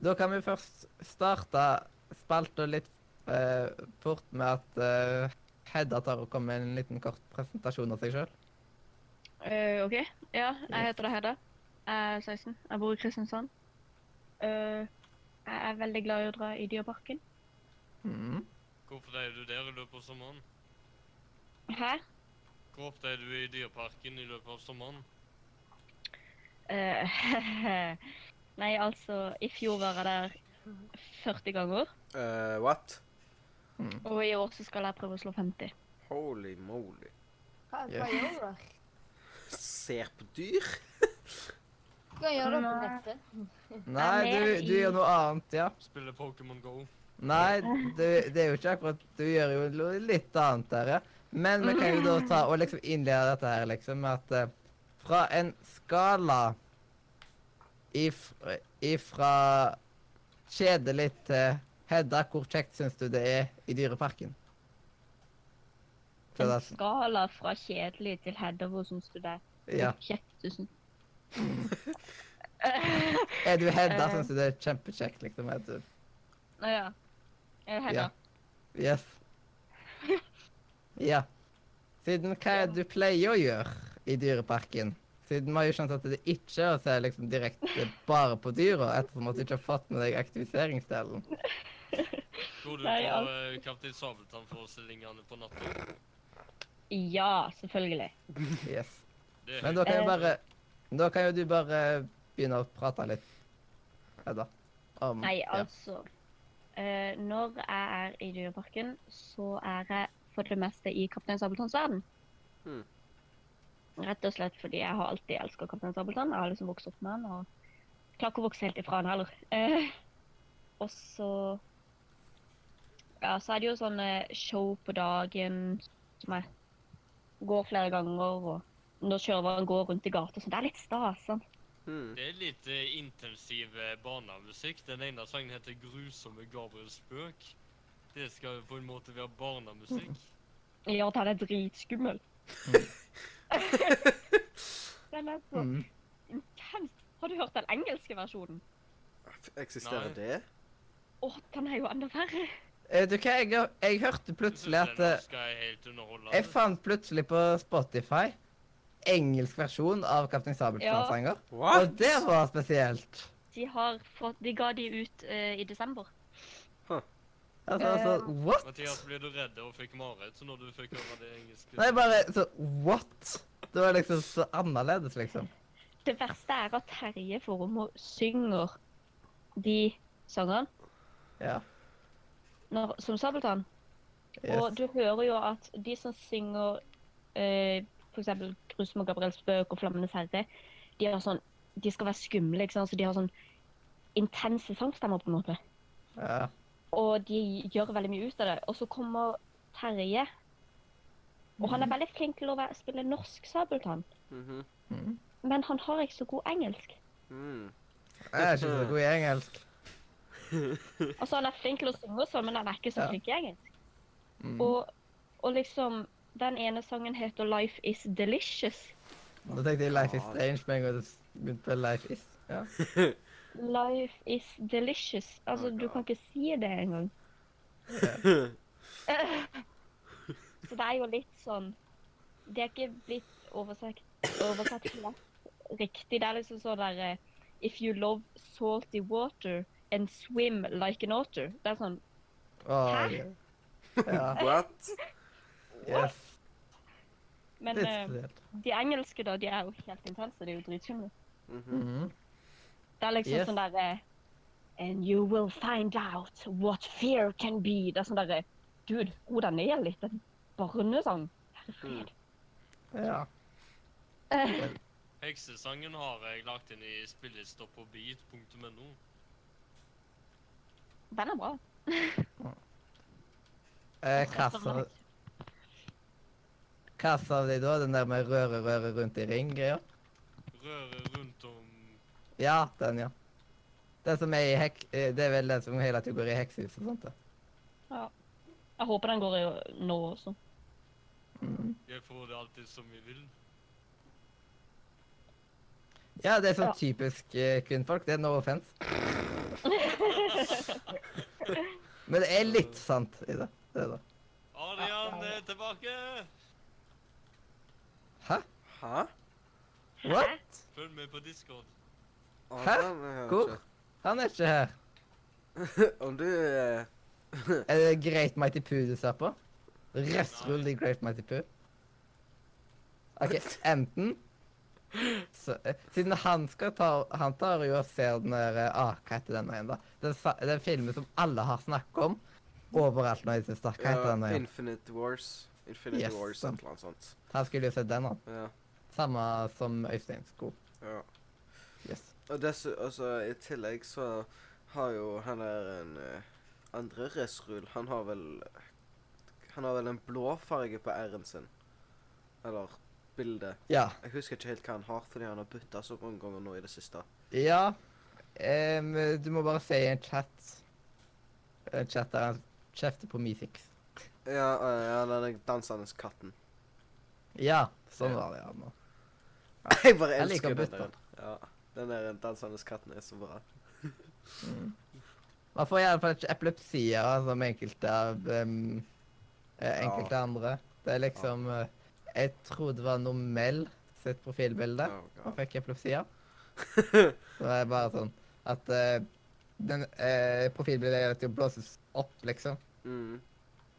S1: Da kan vi først starte spalta litt eh, fort med at eh, Hedda tar og kommer med en liten kort presentasjon av seg sjøl.
S5: Eh, OK. Ja, jeg heter da Hedda. Jeg er 16. Jeg bor i Kristiansand. Eh, jeg er veldig glad i å dra i Dyreparken.
S1: Mm.
S4: Hvorfor er du der i løpet av sommeren?
S5: Hæ?
S4: Hvor ofte er du i Dyreparken i løpet av sommeren?
S5: Eh, Nei, altså, i fjor var jeg der 40 ganger,
S3: Eh, what?
S5: og i år så skal jeg prøve å slå 50.
S3: Holy moly.
S2: Hva,
S1: Ja.
S2: hva gjør dere?
S3: Ser på dyr?
S2: Hva gjør dere på
S5: Nei.
S2: nettet?
S1: Nei, du, du gjør noe annet, ja.
S4: Spiller Pokémon GO?
S1: Nei, du, det er jo ikke akkurat Du gjør jo lo- litt annet der, ja. Men vi kan jo da ta og liksom innlede dette her, liksom, med at eh, fra en skala if, ifra kjedelig til Hedda, hvor kjekt syns du det er i Dyreparken? Så
S5: En
S1: da-
S5: skala fra kjedelig til Hedda, hvor syns sånn du det er?
S1: ja.
S5: Kjekt, du syns.
S1: Er du Hedda,
S5: Eh.
S1: syns du det er kjempekjekt, liksom? Er du
S5: Å ja. Eh, Hedda.
S1: Ja. Yes. Ja. Siden hva er det du pleier å gjøre i dyreparken? Siden vi har jo skjønt at det ikke er å se liksom direkte bare på dyra, ettersom at du ikke har fått med deg aktiviseringsdelen.
S4: Går du
S5: Nei,
S4: på
S5: alt.
S4: eh, Kaptein Sabeltann-forestillingene på natta?
S5: Ja, selvfølgelig.
S1: Yes.
S4: Det er
S1: Men da kan jo
S5: Eh.
S1: bare Da kan jo du bare begynne å prate litt, Hedda. Om
S5: Nei,
S1: ja.
S5: altså. eh, når jeg er i Dyreparken, så er jeg for det meste i Kaptein Sabeltanns verden.
S3: Hmm.
S5: Rett og slett fordi jeg har alltid elsket Kaptein Sabeltann. Jeg har liksom vokst opp med han, og klarer ikke å vokse helt ifra han heller. Eh, og så Ja, så er det jo sånne show på dagen som jeg går flere ganger, og når sjørøveren går rundt i gata, så det er litt stas. sant?
S3: Hmm.
S4: Det er litt eh, intensiv eh, barnemusikk. Den ene sangen heter 'Grusomme Gabriels spøk'. Det skal jo på en måte være barnemusikk.
S5: Ja, at han er dritskummel. den er så
S1: Mm.
S5: intens. Har du hørt den engelske versjonen?
S3: F- Eksisterer
S4: Nei.
S3: det?
S5: Å, den er jo enda verre.
S1: Vet Eh, du hva, jeg, jeg hørte plutselig at eh,
S4: skal jeg helt underholde.
S1: Jeg fant plutselig på Spotify engelsk versjon av Kaptein Sabeltann-sanger. Og det var spesielt.
S5: De, har fått, de ga de ut eh, i desember.
S1: Altså, altså, what?
S4: Mathias, ble du redd og fikk mareritt så når du fikk høre det engelske?
S1: Nei, bare så what? Det var liksom så annerledes, liksom.
S5: Det verste er at Terje Formoe synger de sangene
S1: Ja.
S5: når, som Sabeltann. Og
S1: Yes.
S5: du hører jo at de som synger eh, f.eks. Grusom og Gabriels spøk og Flammenes herre, de, har sånn, de skal være skumle, ikke sant? så de har sånn intense sangstemmer på en måte.
S1: Ja.
S5: Og de gjør veldig mye ut av det. Og så kommer Terje. Og han er veldig flink til å være, spille norsk sabeltann,
S3: Mhm.
S1: Mm.
S5: men han har ikke så god engelsk.
S3: Mm.
S1: Jeg er ikke så god i engelsk.
S5: Altså, han er flink til å synge og sånn, men han er ikke så
S1: Ja.
S5: flink i engelsk.
S1: Mm.
S5: Og, og liksom Den ene sangen heter 'Life Is Delicious'.
S1: Da tenkte jeg Life is Strange med en gang du begynte på Life is. Ja.
S5: Life is delicious. Altså,
S3: Oh my
S5: du
S3: God.
S5: kan ikke si det engang. Så det er jo litt sånn Det er ikke blitt oversett, oversett lett riktig. Det er liksom sånn der eh, If you love salty water and swim like an otter. Det er sånn
S1: Og, ja.
S3: What?
S1: Yes.
S5: Men
S1: Litt
S5: eh,
S1: spesielt.
S5: de engelske, da, de er jo helt intense. De er jo dritskumle.
S3: Mhm.
S1: Mhm.
S5: Det er liksom
S1: Yes.
S5: sånn derre And you will find out what fear can be. Det er sånn derre Dude, ro deg ned litt. Det er en barnesang. Herregud.
S1: Ja.
S5: Eh,
S4: Heksesangen har jeg lagt inn i spillelista på beat.no.
S5: Den er bra.
S1: Eh, hva sa- Hva sa de da? Den der med røre, røre rundt i ring-greia?
S4: Røre rundt om
S1: Ja, den, ja. Den som er i hek... eh, Det er vel den som hele tiden går i heksehus og sånt, da.
S5: Jeg håper den går i nå også.
S4: Jeg får det alltid som jeg vil.
S1: Ja, det er sånn
S5: Ja.
S1: typisk eh, kvinnfolk. Det er no offense. Men det er litt sant i det. det, er det.
S4: Adrian er tilbake!
S1: Hæ?
S3: Hæ?
S1: What?
S4: Følg med på Discord.
S3: Å,
S1: Hæ?
S3: den er jeg
S1: Hvor?
S3: ikke.
S1: Han er ikke her.
S3: Om du eh,
S1: Er det Great Mighty Poo du ser på? Røsrull i Great Mighty Poo. OK, enten så, eh, Siden han skal ta Han tar jo og ser den der eh, ah, Hva heter den igjen, da? Den, sa- den filmen som alle har snakket om overalt når de snakker. Hva heter
S3: ja,
S1: den igjen?
S3: Infinite Wars. Infinite
S1: Yes,
S3: Wars,
S1: sant.
S3: et eller annet sånt.
S1: Han skulle jo sett den, han.
S3: Ja,
S1: Samme som Øystein Sko.
S3: ja.
S1: Yes.
S3: Og dessu, altså, i tillegg så har jo han der en eh, andre resrul Han har vel Han har vel en blåfarge på r-en sin. Eller bildet.
S1: Ja.
S3: Jeg husker ikke helt hva han har, fordi han har bytta så mange ganger nå i det siste.
S1: Ja. Em, du må bare se i en chat. En chat der han kjefter på Mifix.
S3: Ja, eh, ja den dansende katten.
S1: Ja, sånn var det. ja, nå.
S3: Jeg bare
S1: Jeg liker
S3: elsker
S1: å
S3: den
S1: bytte.
S3: der. Ja, den der dansende katten er så bra.
S1: Man får iallfall ikke epilepsier altså, som enkelte av ehm, eh, enkelte andre. Det er liksom eh, Jeg tror det var Nomel sitt profilbilde.
S3: Oh,
S1: Han
S3: God.
S1: fikk epilepsier. Så det er bare sånn at eh, den eh, profilbildet er til å blåses opp, liksom.
S3: Mm.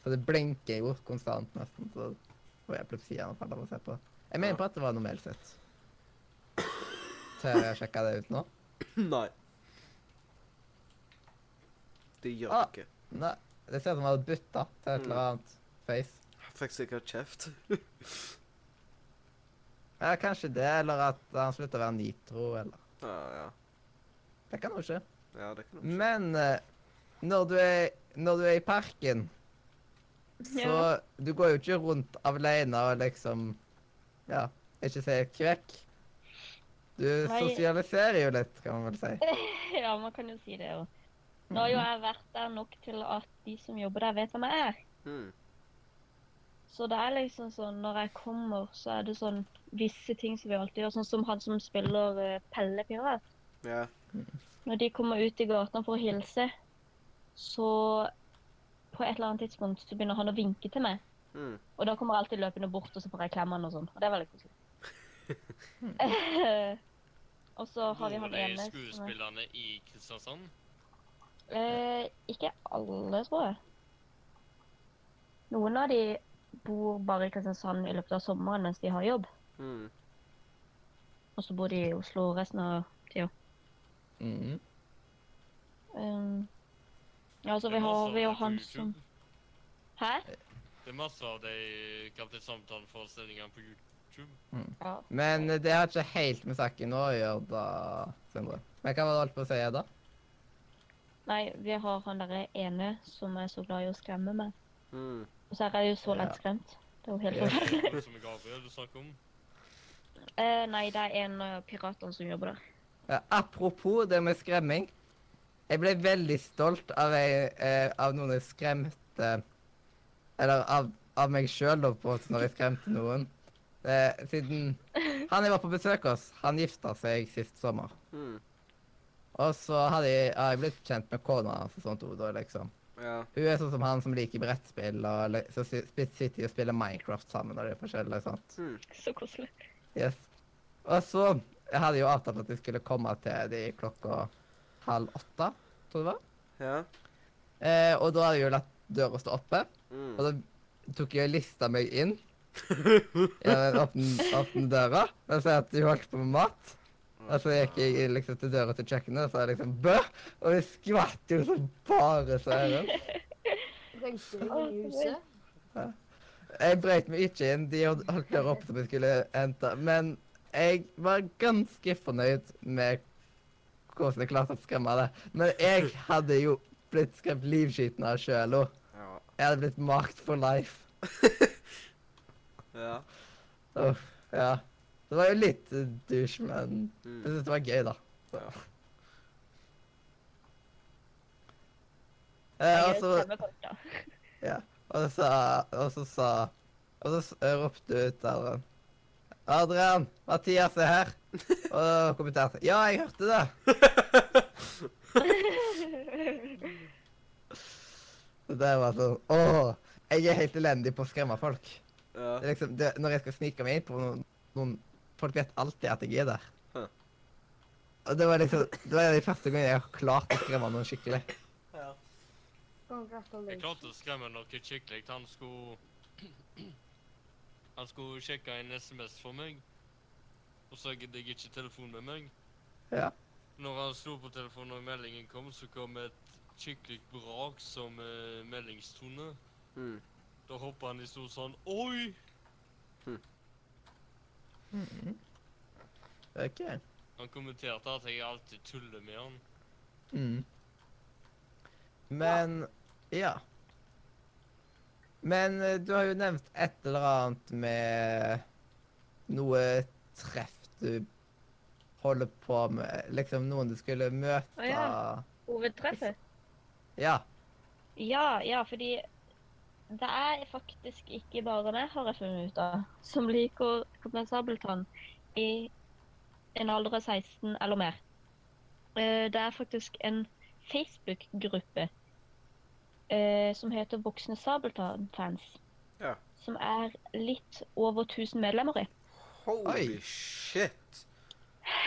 S1: Så det blinker jo konstant, nesten. Så får jeg epilepsi av å se på. Jeg mener på at det var Nomel sitt. Tør jeg sjekke det ut nå?
S3: Nei. Det gjør
S1: Ah.
S3: det ikke.
S1: Nei. Det ser ut som han hadde bytta til et
S5: Mm.
S1: eller annet face.
S3: Han fikk sikkert kjeft.
S1: Ja, kanskje det, eller at han slutta å være nitro, eller
S3: Ja, Ah, ja.
S1: Det kan jo skje.
S3: ja det kan jeg
S1: Men eh, når du er, når du er i parken, så
S5: Ja.
S1: Du går jo ikke rundt alene og liksom Ja, ikke si kvekk. Du
S5: Nei. Eh.
S1: sosialiserer jo litt, kan man vel si.
S5: Ja, man kan jo si det. Og nå har jo jeg vært der nok til at de som jobber der, vet hvem jeg er.
S3: Mm.
S5: Så det er liksom sånn når jeg kommer, så er det sånn visse ting som vi alltid gjør. Sånn som han som spiller eh, Pelle Pirat.
S3: Ja.
S5: Når de kommer ut i gatene for å hilse, så på et eller annet tidspunkt så begynner han å vinke til meg.
S3: Mm.
S5: Og da kommer jeg alltid løpende bort, og så får jeg klemme han og sånn. Og det er veldig koselig. Eh, og så har vi
S4: Bor
S5: han
S4: de
S5: ene som er-
S4: skuespillerne i Kristiansand?
S5: Eh, ikke alle, tror jeg. Noen av de bor bare i Kristiansand i løpet av sommeren mens de har jobb.
S3: Mm.
S5: Og så bor de i Oslo resten av
S1: Mhm.
S5: um, Ja, altså,
S4: Det
S5: vi
S4: er masse
S5: har
S4: av
S5: vi jo
S4: det på
S5: han
S4: YouTube.
S5: som Hæ?
S4: Det er masse av de Kaptein Samtalen-forestillingene på YouTube.
S5: Ja.
S1: Men det har ikke helt med saken å gjøre, da, Sindre. Men hva var det du holdt på å si da?
S5: Nei, vi har han derre ene som er så glad i å skremme meg.
S3: Mm.
S5: Og så er jeg jo så
S1: Ja.
S5: lett skremt. Det er jo helt
S1: Ja.
S5: forferdelig.
S4: Han som er Gabriel du snakker om.
S5: Eh, nei, det er en av piratene som jobber der.
S1: Ja, apropos det med skremming. Jeg ble veldig stolt av, ei, eh, av noen jeg skremte Eller av, av meg sjøl, da, på en måte, når jeg skremte noen. Eh, siden han jeg var på besøk hos, han gifta seg sist sommer.
S3: Mm.
S1: Og så hadde jeg, har jeg blitt kjent med kona hans og sånt. Da, liksom.
S3: Ja.
S1: Hun er sånn som han som liker brettspill, og li- så si- sp- sitter de og spiller Minecraft sammen. og det er forskjellig, liksom. sant?
S3: Mm.
S5: Så koselig.
S1: Yes. Og så jeg hadde jo avtalt at jeg skulle komme til de klokka halv åtte, tror jeg det var.
S3: Ja.
S1: Eh, og da hadde jeg jo latt døra stå oppe, og
S3: Mm.
S1: da tok jeg og lista meg inn. Jeg åpnet åpnet døra og sa at de holdt på med mat. Og så gikk jeg liksom til døra til kjøkkenet og sa liksom bø! Og jeg skvatt jo som bare søren.
S2: Røyker du i huset?
S1: Jeg brøt meg ikke inn, de hold- holdt døra oppe som jeg skulle hente. Men jeg var ganske fornøyd med hvordan jeg klarte å skremme det. Men jeg hadde jo blitt skremt livskiten av sjøl òg.
S3: Ja.
S1: Jeg hadde blitt marked for life.
S3: Ja.
S1: Uff, ja. Det var jo litt eh, douche, men jeg
S3: Mm.
S1: syntes det var gøy, da. Så.
S3: Ja.
S1: Eh, og,
S5: Jeg
S1: så,
S5: skremmer folk, da.
S1: og, så, og så sa Og så s- eh, ropte ut Adrian. Adrian! Mathias er her! Og kommenterte. Ja, jeg hørte det! Så det var sånn Åh! Jeg er helt elendig på å skremme folk.
S3: Ja.
S1: Det er liksom, det, når jeg skal snike meg inn på noen, noen Folk vet alltid at jeg er der.
S3: Hæ.
S1: Og det var liksom Det var de første gangene jeg har klart å skremme noen skikkelig.
S3: Ja.
S4: Jeg
S2: Congratulations.
S4: klarte å skremme noe skikkelig. Han skulle Han skulle sjekke en SMS for meg, og så gidde jeg ikke telefon med meg.
S1: Ja.
S4: Når han slo på telefonen og meldingen kom, så kom et skikkelig brak som eh, meldingstone.
S3: Mm.
S4: Da hoppa han i stol sånn Oi!
S1: Ok.
S4: Han kommenterte at jeg alltid tuller med han.
S1: Mm. Men Ja. Men eh, du har jo nevnt et eller annet med noe treff du holder på med. Liksom noen du skulle møte
S5: Å ja. Hovedtreffet?
S1: ja.
S5: Ja, ja, fordi det er faktisk ikke bare det, har jeg funnet ut av, som liker Kaptein Sabeltann i en alder av 16 eller mer. Eh, Det er faktisk en Facebook-gruppe eh, som heter Voksne Sabeltann-fans.
S3: Ja.
S5: Som er litt over 1000 medlemmer i.
S3: Holy
S1: Oi.
S3: shit!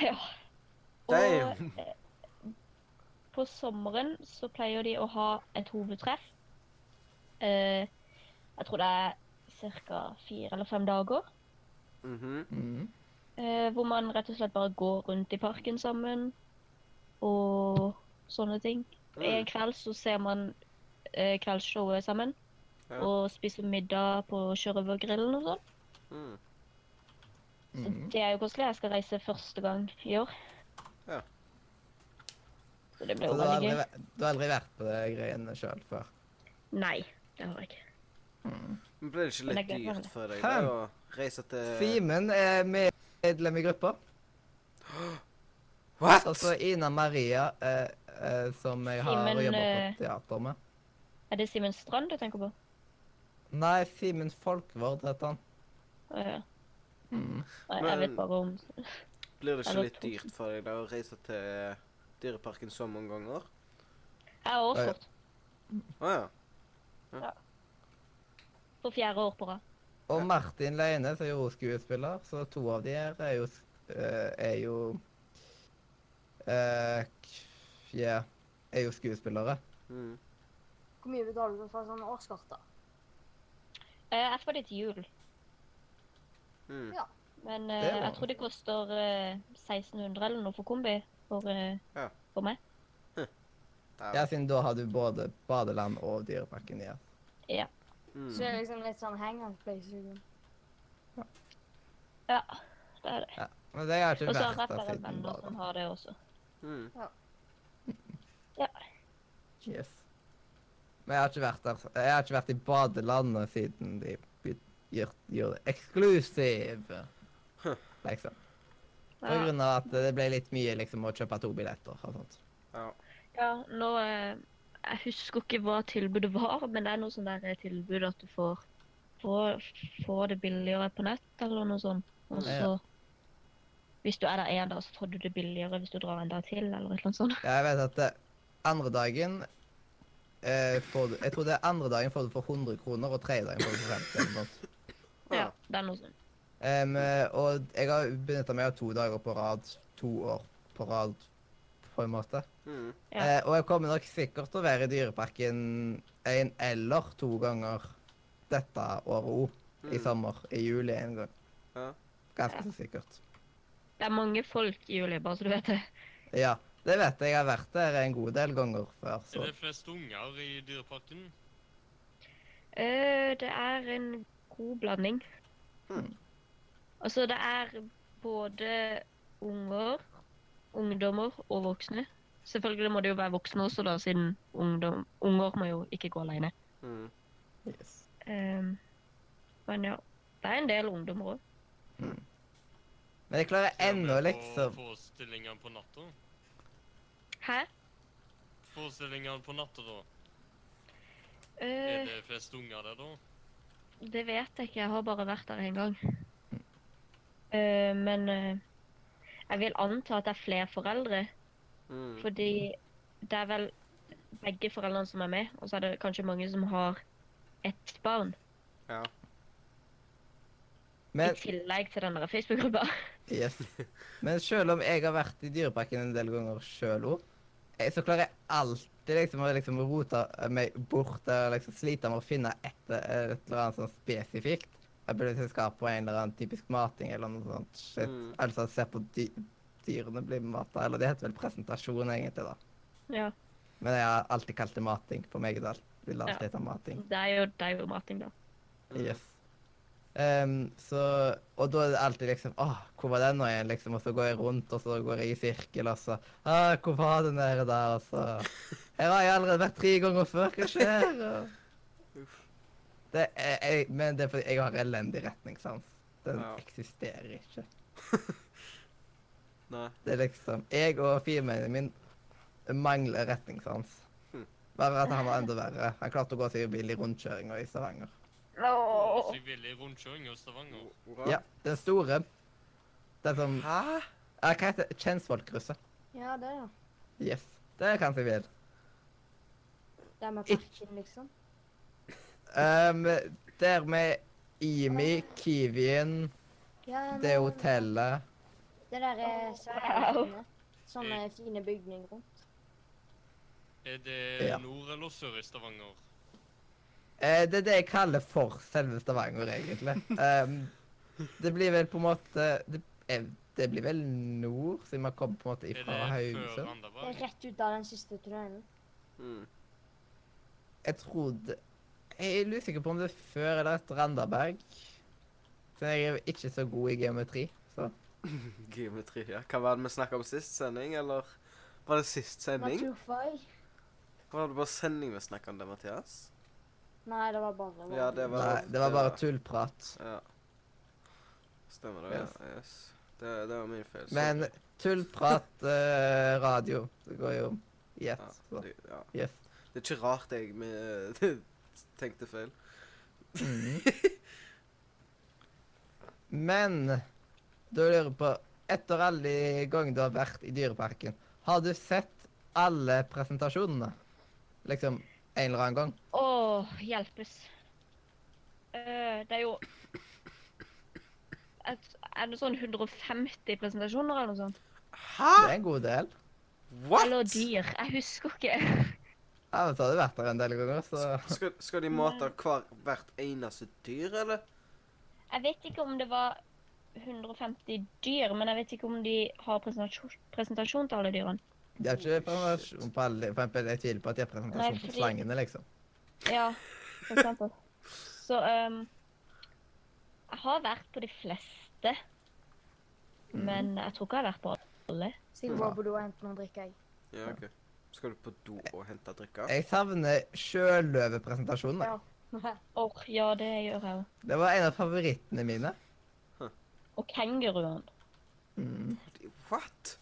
S5: Ja. Og
S3: Damn!
S5: på sommeren så pleier de å ha et hovedtreff. Eh, jeg tror det er ca. fire eller fem dager.
S3: Mhm.
S1: Mm.
S5: Eh, hvor man rett og slett bare går rundt i parken sammen og sånne ting. En
S3: Mm.
S5: kveld så ser man eh, kveldsshowet sammen
S3: Ja.
S5: og spiser middag på sjørøvergrillen og sånn.
S3: Mm. Mhm.
S1: Mm.
S5: Det er jo koselig. Jeg skal reise første gang i år.
S3: Ja.
S5: Så det blir
S1: Så
S5: jo
S1: du har, aldri,
S5: veldig gøy.
S1: væ- du har aldri vært på de greiene sjøl før?
S5: Nei, det har jeg ikke.
S3: Men ble det ikke
S5: Men
S3: litt
S5: jeg gleder meg.
S3: dyrt for deg
S1: Hæ?
S3: da, å reise til
S1: Simen er medlem i gruppa.
S3: What?!
S1: Altså Ina Maria, eh, eh, som jeg har
S5: Simen,
S1: og jobber
S5: eh,
S1: på teater med.
S5: Er det Simen Strand du tenker på?
S1: Nei, Simen Folkvord heter han.
S5: Å, ja.
S1: Mm.
S5: Nei, jeg
S3: Men-
S5: vet bare om
S3: Blir det ikke
S5: Eller
S3: litt
S5: to.
S3: dyrt for deg da å reise til dyreparken så mange ganger?
S5: Jeg
S1: Å,
S5: har
S1: ja.
S5: årskort
S3: Å ja.
S5: for fjerde år på rad.
S1: Og Martin Leine, som er jo skuespiller, så to av de her er jo s- eh, Er jo eh, k- Ja. Er jo skuespillere.
S3: Mm.
S2: Hvor mye betaler du for sånn årskort, da?
S5: Eh, Jeg får det til jul,
S3: Mm.
S5: men
S1: Det
S5: eh,
S1: var-
S5: jeg tror det koster eh, 1600 eller noe for kombi for, eh,
S3: Ja.
S5: for meg.
S1: Ja, siden da har du både badeland og Dyreparken igjen.
S2: Så det
S3: Mm.
S2: er liksom litt sånn hang-on place. liksom.
S5: Ja, det er det.
S1: Men det har ikke
S5: Og så har jeg
S1: vært der
S5: flere
S1: siden
S5: venner som
S1: badeland.
S5: har det også.
S3: Mm.
S1: Yes. Men jeg har ikke vært der. Jeg har ikke vært i badelandet siden de by- gjør, gjør det eksklusive.
S3: Huh.
S1: Liksom. På
S5: Ja,
S1: grunn av at det ble litt mye liksom, å kjøpe to billetter og sånt.
S3: Ja.
S5: ja nå eh, Jeg husker ikke hva tilbudet var, men det er noe sånn der eh, tilbud at du får, får, får det billigere på nett eller noe sånt. Og
S1: Ja.
S5: så Hvis du er der én dag, så får du det billigere hvis du drar en dag til, eller et eller annet sånt.
S1: Jeg vet at eh, andre dagen eh, får du, Jeg tror det er andre dagen får du for 100 kroner, og tredje dagen får du for 50 eller noe sånt.
S5: Ja, det er noe sånn. sånt.
S1: Em, eh, og jeg har benytta meg av to dager på rad. To år på rad, på en måte.
S3: Mm.
S5: Ja.
S1: Eh, og jeg kommer nok sikkert til å være i Dyreparken én eller to ganger dette året òg. I
S3: Mm.
S1: sommer. I juli en gang.
S3: Ja.
S1: Ganske så sikkert.
S5: Det er mange folk i juli, bare så du vet det.
S1: Ja, det vet jeg. Jeg har vært der en god del ganger før,
S4: Er
S1: så
S4: det flest unger i dyreparken?
S5: Eh, det er en god blanding.
S3: Hmm.
S5: Altså, det er både unger, ungdommer og voksne. Selvfølgelig må det jo være voksne også, da, siden ungdom, unger må jo ikke gå alene.
S3: Mm.
S1: yes.
S5: Ehm, men ja, det er en del ungdommer òg.
S1: Men jeg klarer ennå
S4: På
S1: liksom
S4: forestillingene på natta?
S5: Hæ?
S4: Forestillingene på natta, da? Er
S5: Eh,
S4: det flest unger der, da?
S5: det vet jeg ikke, jeg har bare vært der én gang. Eh, men eh, jeg vil anta at det er flere foreldre.
S3: Mm.
S5: Fordi det er vel begge foreldrene som er med, og så er det kanskje mange som har ett barn.
S3: Ja.
S1: Men,
S5: I tillegg til den der Facebook-gruppa.
S1: yes. Men selv om jeg har vært i Dyreparken en del ganger sjøl òg, så klarer jeg alltid liksom å liksom rote meg bort og liksom slite med å finne et, et eller annet sånn spesifikt. Jeg burde liksom skape en eller annen typisk mating eller noe sånt shit.
S3: Mm.
S1: Altså se på dy dyrene bli mata, eller det heter vel presentasjon egentlig, da.
S5: Ja,
S1: Men jeg har alltid kalt det mating på Megidal. Vil
S5: Ja.
S1: alltid hete mating.
S5: det er jo, det er jo mating, da.
S3: Mm.
S1: Yes. Ehm, så, og da er det alltid liksom Åh, hvor var den nå igjen? Liksom, og så går jeg rundt, og så går jeg i sirkel, og så Åh, hvor var den der, da? Og så Her har jeg allerede vært tre ganger før. Hva skjer? Og...
S3: Uff.
S1: Det er, jeg, men det er fordi jeg har elendig retningssans. Den
S3: Ja.
S1: eksisterer ikke.
S3: Nei.
S1: Det er liksom Jeg og firmaet min mangler retningssans.
S3: Hm.
S1: Bare at han var enda verre. Han klarte å gå seg i bil i rundkjøringa i Stavanger.
S4: Oh. Frivillig rundkjøring i Stavanger?
S3: Hva?
S1: Ja, den store. Den som
S3: Hæ?
S1: Ja, hva heter det? Kjensvollkrysset.
S2: Ja, det, ja.
S1: Yes. Det kan jeg vil.
S2: Der med pakken, liksom.
S1: Um, der med Imi, Kiwien,
S2: Ja, ja,
S1: det
S2: men
S1: hotellet
S2: Det der er svære
S5: Wow.
S2: fine. Sånne fine bygninger rundt.
S4: Er det
S1: Ja.
S4: nord eller sør i Stavanger?
S1: Eh, Det er det jeg kaller for selve Stavanger, egentlig. Um, det blir vel på en måte Det, eh, det blir vel nord, siden man kommer på en måte
S4: Er
S1: ifra
S4: det før
S1: Haugesund.
S2: Det er
S4: Randaberg?
S2: rett ut av den siste tunnelen.
S3: Mm.
S1: Jeg trodde Jeg er litt usikker på om det er før eller etter Randaberg. Så jeg er ikke så god i geometri, så
S3: Geometri, ja. Hva var det vi snakket om sist sending, eller var det sist sending?
S2: Naturfag.
S3: Var det bare sending vi snakket om det, Mathias?
S2: Nei, det var bare
S3: Ja, det var
S1: Nei, det var bare tullprat.
S3: Ja. Stemmer det,
S1: Yes.
S3: ja. Yes. Det, det var min feil.
S1: Men
S3: sorry.
S1: tullprat eh, radio. Det går jo i
S3: ja,
S1: ett. så,
S3: det, ja.
S1: Yes.
S3: det er ikke rart jeg med, tenkte feil.
S1: Mm. Men da lurer jeg på Etter alle de gangene du har vært i Dyreparken, har du sett alle presentasjonene? Liksom en eller annen gang?
S5: Å, hjelpes. Eh, det er jo et, Er det sånn 150 presentasjoner eller noe sånt?
S1: Det
S3: Hæ?!
S1: er en god del.
S5: Eller
S3: What?!
S5: dyr. Jeg husker ikke.
S1: Ja, men så har du vært der en del ganger, så
S3: Skal, skal de mate hver, hvert eneste dyr, eller?
S5: Jeg vet ikke om det var 150 dyr, men jeg vet ikke om de har presentasjon, presentasjon til alle dyrene.
S1: de har ikke presentasjon på alle. For eksempel, jeg tviler på at de har
S5: Nei,
S1: presentasjon på
S5: fordi-
S1: slangene, liksom.
S5: Ja, for eksempel. Så ehm, Jeg har vært på de fleste, men jeg tror ikke jeg har vært på alle.
S2: Stig går på do og henter noe å drikke, jeg.
S3: Ja, OK. Skal du på do
S1: Eh,
S3: og hente drikke?
S1: Jeg savner sjøløvepresentasjonen. jeg.
S2: Ja.
S5: Åh, ja, det gjør jeg òg.
S1: Det var en av favorittene mine.
S5: Og kenguruen.
S1: Mm.
S3: What?!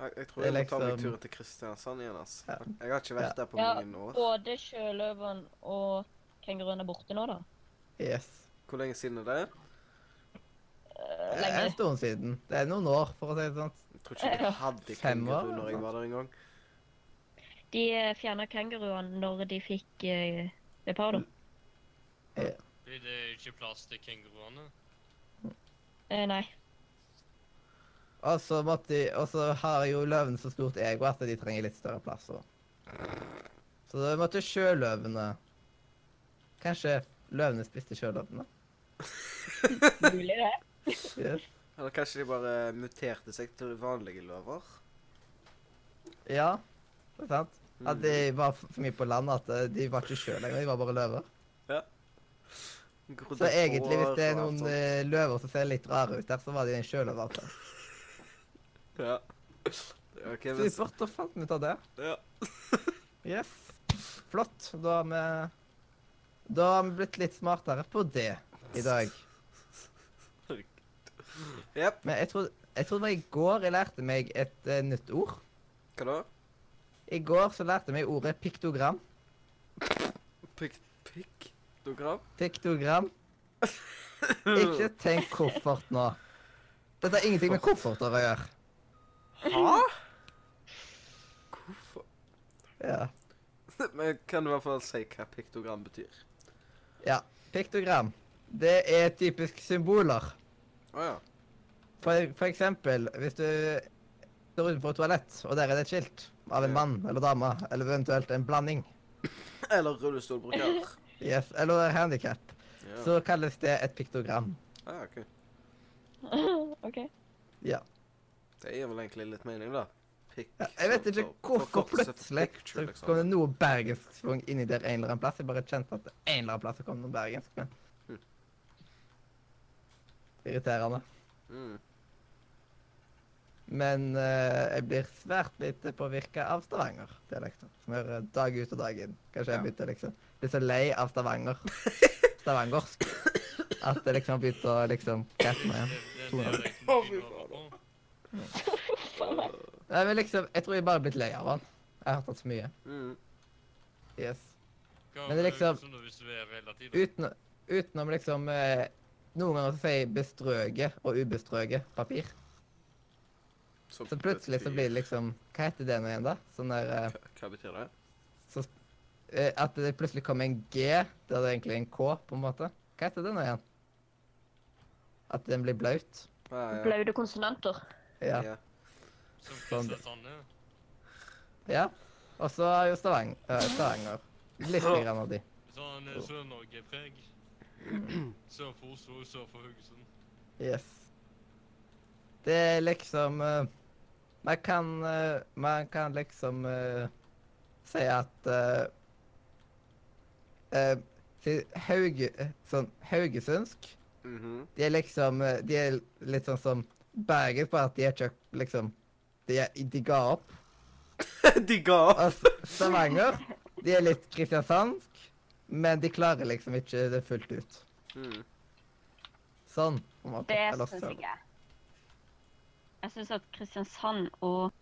S3: Jeg, jeg tror
S1: Det
S3: jeg
S1: er
S3: må ta meg
S1: liksom-
S3: turen til Kristiansand igjen, ass.
S1: Ja.
S3: Jeg har ikke vært der på
S5: Ja,
S3: mange år.
S5: Både sjøløven og kenguruen er borte nå, da.
S1: Yes.
S3: Hvor lenge siden er det?
S5: Eh,
S1: Det er en
S5: Lenge.
S1: stund siden. Det er noen år, for å si det sånn.
S3: Jeg tror ikke
S5: Ja.
S3: jeg hadde
S1: Fem år,
S3: kenguru når jeg
S1: eller
S3: var der engang.
S5: De fjerna kenguruen når de fikk uh, leoparder.
S4: Blir det ikke plass til kenguruene?
S5: Eh, nei.
S1: Og så, måtte de, og så har jo løvene så stort ego at de trenger litt større plass. Og. Så da måtte sjøløvene Kanskje løvene spiste sjøløvene?
S5: Mulig det.
S1: Yes.
S3: Eller kanskje de bare muterte seg til vanlige løver?
S1: Ja, det er sant. At de var f- for mye på land at eh, de var ikke sjø lenger, de var bare løver.
S3: Grodde
S1: Så egentlig, hvis
S3: hår
S1: det er
S3: og alt
S1: noen
S3: sånt.
S1: eh, løver som ser litt rare ut der, så var de en sjøløve. altså.
S3: Ja. OK, men
S1: Supert, da fant vi ut av det.
S3: ja.
S1: Yes. Flott. Da har vi Da har vi blitt litt smartere på det i dag.
S3: Jepp.
S1: Men jeg tror, jeg tror det var i går jeg lærte meg et eh, nytt ord.
S3: Hva da?
S1: I går så lærte jeg meg ordet piktogram.
S3: Pikk... Piktogram?
S1: Piktogram. Ikke tenk koffert nå. Dette har ingenting med kofferter å gjøre.
S3: Hæ? Hvorfor
S1: Ja.
S3: Men kan du i hvert fall si hva piktogram betyr?
S1: ja. Piktogram. Det er typisk symboler.
S3: Å ja.
S1: For, for eksempel, hvis du står utenfor et toalett, og der er det et skilt av en
S3: Ja.
S1: mann eller dame, eller eventuelt en blanding,
S3: Eller rullestolbruker.
S1: yes, eller handikap,
S3: Ja.
S1: så kalles det et piktogram.
S3: Ah, ok.
S5: OK.
S3: Det gir vel egentlig litt mening, da. Pikk
S1: Ja, jeg vet ikke
S3: sånn for-
S1: hvorfor
S3: forkortelse for
S1: plutselig
S3: picture,
S1: så
S3: liksom.
S1: kom det noe bergensk sprung inni der en eller annen plass. Jeg bare kjente at det en eller annen plass så kom noe bergensk. Men
S3: Hm.
S1: Irriterende.
S3: Mm.
S1: Men eh, jeg blir svært lite påvirka av Stavanger-dialekten. Som jeg hører dag ut og dag inn. Kanskje
S3: Ja.
S1: jeg begynte liksom Blir så lei av Stavanger. Stavangersk. At jeg liksom har begynt å liksom kaste meg igjen.
S4: Det, det,
S1: Tror
S4: det
S1: jeg.
S4: er dialekten
S3: Å, fy
S4: begynner å være på.
S1: Nei, men liksom, jeg tror jeg bare er blitt lei av han. Jeg har hørt han så mye.
S3: Mm.
S1: Yes.
S4: Hva
S1: Men det er liksom-
S4: høres sånn ut hvis du er relativt?
S1: Uten, utenom liksom eh, Noen ganger så sier jeg bestrøget og ubestrøget papir. Så plutselig så blir det liksom Hva heter det nå igjen, da? Sånn der eh,
S3: Hva betyr det?
S1: så eh, At det plutselig kom en G, der det er egentlig en K, på en måte. Hva heter det nå igjen? At den blir blaut?
S3: Ah, Ja, ja.
S5: Blaute konsonanter.
S1: Ja.
S3: ja.
S4: Som
S1: Sånn.
S4: Kristiansand, ja.
S1: ja. Og så er jo Stavanger, eh, Stavanger. Litt grann av de.
S4: Sånn eh, Sør-Norge-preg. Sør for Oslo, sør for Haugesund.
S1: Yes. Det er liksom eh, Man kan eh, Man kan liksom eh, si at eh, eh, si- Hauge, eh, sånn, Haugesundsk
S3: Mhm.
S1: De er liksom eh, De er litt sånn som Bergen, bare at de er ikke liksom De, er, de ga opp.
S3: De ga opp.
S1: Og S- Stavanger De er litt kristiansandsk, men de klarer liksom ikke det fullt ut.
S3: Mm.
S1: Sånn. på en måte.
S5: Det
S1: Eller sånn.
S5: syns
S1: så-
S5: jeg er. Jeg syns at Kristiansand og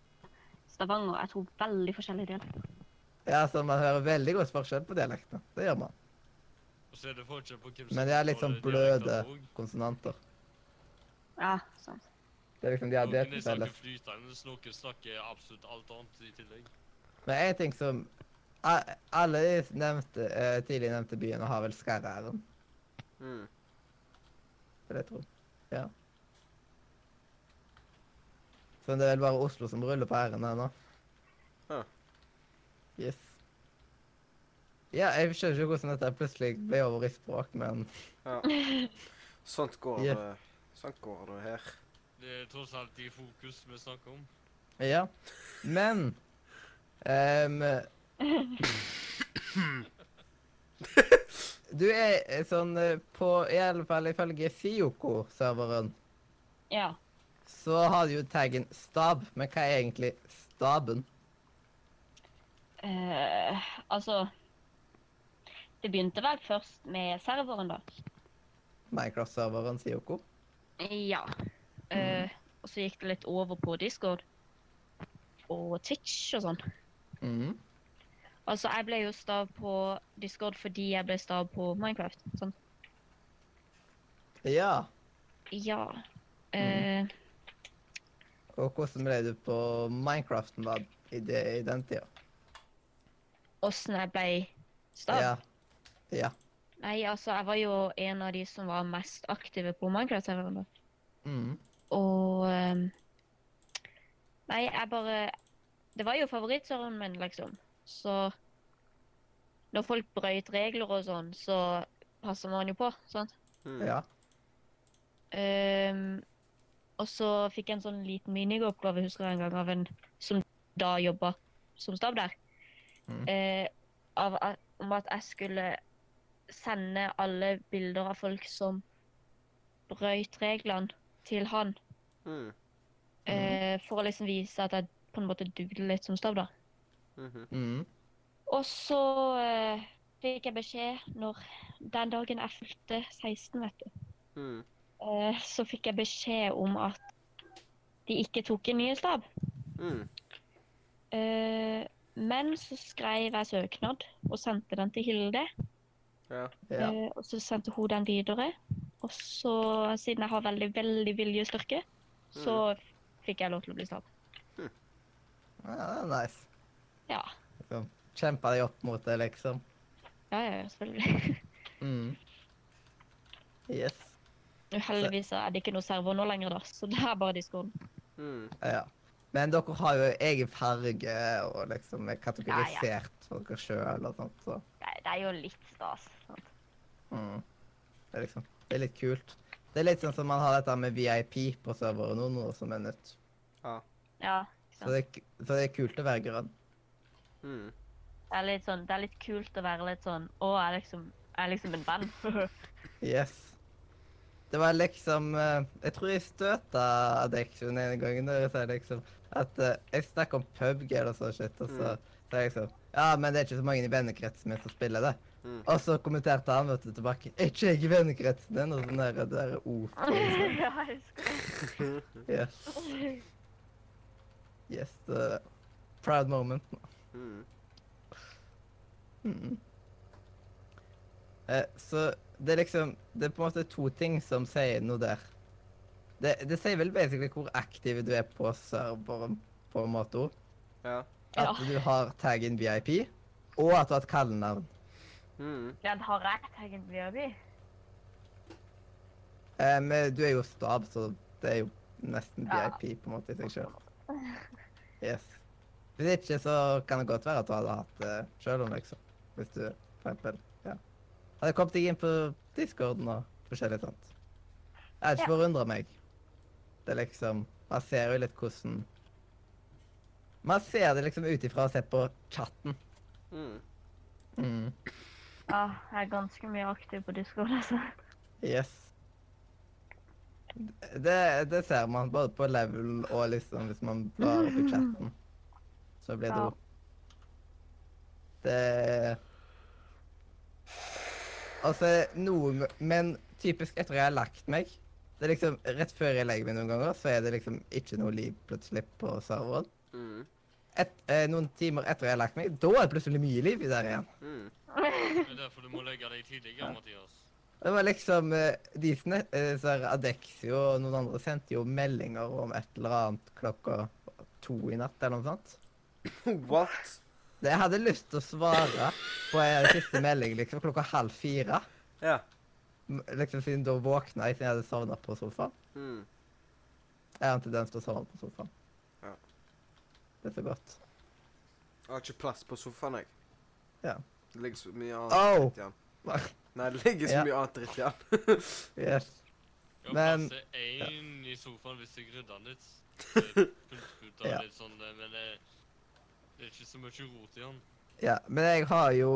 S5: Stavanger er to veldig forskjellige deler.
S1: Ja, så man hører veldig godt forskjell på dialektene. Det gjør man.
S4: Og så er det forskjell på hvem som
S1: Men det er litt sånn
S4: uttaler
S1: bløde
S4: dialekter også.
S1: konsonanter.
S5: Ja, sant.
S1: Det er liksom de har det
S4: Noen
S1: til felles.
S4: snakker flytende, noen snakker absolutt alt annet i tillegg.
S1: Men en ting som a- Alle de nevnte, eh, tidlig nevnte byene har vel Skarre-æren,
S3: Mm.
S1: vil jeg tro. Ja. Så det er vel bare Oslo som ruller på æren her nå.
S3: Ja.
S1: Yes. Ja, jeg skjønner ikke hvordan dette plutselig ble over i språk, men
S3: Ja. Sånt går
S1: Ja.
S3: det. Sånt går det her.
S4: Det er tross alt i fokus vi snakker om.
S1: ja. Men ehm, Du er eh, sånn eh, på I alle fall ifølge Fioko-serveren
S5: Ja.
S1: så har du jo taggen stab, men hva er egentlig staben?
S5: Eh, altså Det begynte vel først med serveren, da.
S1: Minecraft-serveren Fioko?
S5: Ja. Eh, og så gikk det litt over på Discord og Twitch og sånn.
S1: Mhm.
S5: Altså, jeg ble jo stav på Discord fordi jeg ble stav på Minecraft. Sånn.
S1: Ja.
S5: Ja. Eh,
S1: Og hvordan ble du på Minecraften da, i, det, i den tida?
S5: Åssen jeg ble stav?
S1: Ja.
S5: Nei, altså, jeg var jo en av de som var mest aktive på Minecraft-serveren. da.
S1: Mhm.
S5: Og ehm, Nei, jeg bare Det var jo favorittserveren min, liksom. Så når folk brøyt regler og sånn, så passer man jo på, sant?
S3: Mm.
S1: Ja.
S5: Ehm, og så fikk jeg en sånn liten minigåoppgave, husker jeg en gang, av en som da jobba som stav der.
S1: Mm.
S5: Eh, av, at- om at jeg skulle sende alle bilder av folk som brøyt reglene, til han.
S3: Mm.
S5: Eh, for å liksom vise at jeg på en måte dugde litt som stav, da.
S3: Mhm.
S1: Mhm.
S5: Og så eh, fikk jeg beskjed når Den dagen jeg fylte 16, vet du,
S3: Mm.
S5: eh, så fikk jeg beskjed om at de ikke tok en ny stav.
S3: Mm.
S5: Eh, men så skrev jeg søknad og sendte den til Hilde.
S3: Ja.
S1: Ja.
S5: Eh, og så sendte hun den videre. Og så, siden jeg har veldig, veldig viljestyrke, så fikk jeg lov til å bli stav.
S1: ja. Det er Ah, nice.
S5: Ja.
S1: Liksom, Kjempa deg opp mot det, liksom.
S5: Ja, ja, ja, selvfølgelig.
S1: Mhm. Yes.
S5: Heldigvis er det ikke noe server nå lenger, da, så det er bare Discord.
S3: Mm.
S1: Ja. Men dere har jo egen farge og liksom er kategorisert for dere sjøl og sånt, så
S5: Det, det er jo litt stas. Sant?
S1: mm. det, er liksom, det er litt kult. Det er litt sånn som man har dette med VIP på serveren nå, noe som er nytt.
S5: Ja.
S1: Så det, er k- så det er kult å være grønn.
S3: Mm.
S5: Det er litt sånn, det er litt kult å være litt sånn Å, jeg er liksom, jeg er liksom en venn.
S1: Yes. Det var liksom eh, Jeg tror jeg støta deg den ene gangen da jeg sa liksom at eh, jeg snakket om PubG eller sånn shit, og så sa jeg liksom Ja, men det er ikke så mange i vennekretsen min som spiller det.
S3: Mm.
S1: Og så kommenterte han vet du, tilbake Er ikke jeg i vennekretsen din? Og sånn der, det der ord.
S5: ja, jeg husker
S1: Yes.
S5: det.
S1: yes the proud moment.
S3: Mm.
S1: Mm. Eh, så det er liksom Det er på en måte to ting som sier noe der. Det, det sier vel basically hvor aktiv du er på serveren, på en måte. også.
S3: Ja.
S1: At du har taggen VIP, Og at du har et kallenavn.
S3: Mm.
S5: Den har rett, egentlig, gjør vi.
S1: Eh, men du er jo stab, så det er jo nesten
S5: Ja.
S1: VIP på en måte i seg selv. Yes. Hvis ikke, så kan det godt være at du hadde hatt det selv om, liksom. Hvis du, for eksempel, ja. Hadde kommet deg inn på Discorden og forskjellig sånt. Jeg hadde ikke forundret meg. Det er liksom, man ser jo litt hvordan... Man ser det liksom utifra og sett på chatten.
S3: Mm.
S1: Mm.
S5: Ja, jeg er ganske mye aktiv på Discord, altså.
S1: Yes. Det, det ser man både på level og liksom hvis man blar opp i chatten. Så blir det
S5: Ja.
S1: jo Det Altså, noen ga- Men typisk etter jeg har lagt meg det er liksom, Rett før jeg legger meg noen ganger, så er det liksom ikke noe liv plutselig på serveren.
S3: Mm.
S1: Et, eh, noen timer etter jeg har lagt meg, da er det plutselig mye liv der igjen.
S3: Mm.
S4: Det er derfor du må legge deg tidligere, Mathias.
S1: Det var liksom eh, de som eh, så her Adexio og noen andre sendte jo meldinger om et eller annet klokka to i natt eller noe sånt.
S3: What?
S1: Det jeg hadde lyst til å svare på en siste melding liksom klokka halv fire.
S3: Ja.
S1: M- Liksom siden da våkna jeg siden jeg hadde sovna på sofaen.
S3: Mm.
S1: Jeg har en tendens til å sovne på sofaen.
S3: Ja.
S1: Det er så godt.
S3: Jeg har ikke plass på sofaen, jeg.
S1: Ja.
S3: Det ligger så mye annet
S1: Au!
S3: dritt i den. Nei, det ligger så
S1: Ja.
S3: mye annet dritt i den.
S1: Yes.
S4: Ja,
S1: Men-
S4: passe én i sofaen hvis jeg rydder den litt. Pultruta
S1: Ja.
S4: litt sånn, eh, men det, det er ikke så mye rot i den.
S1: Ja, men jeg har jo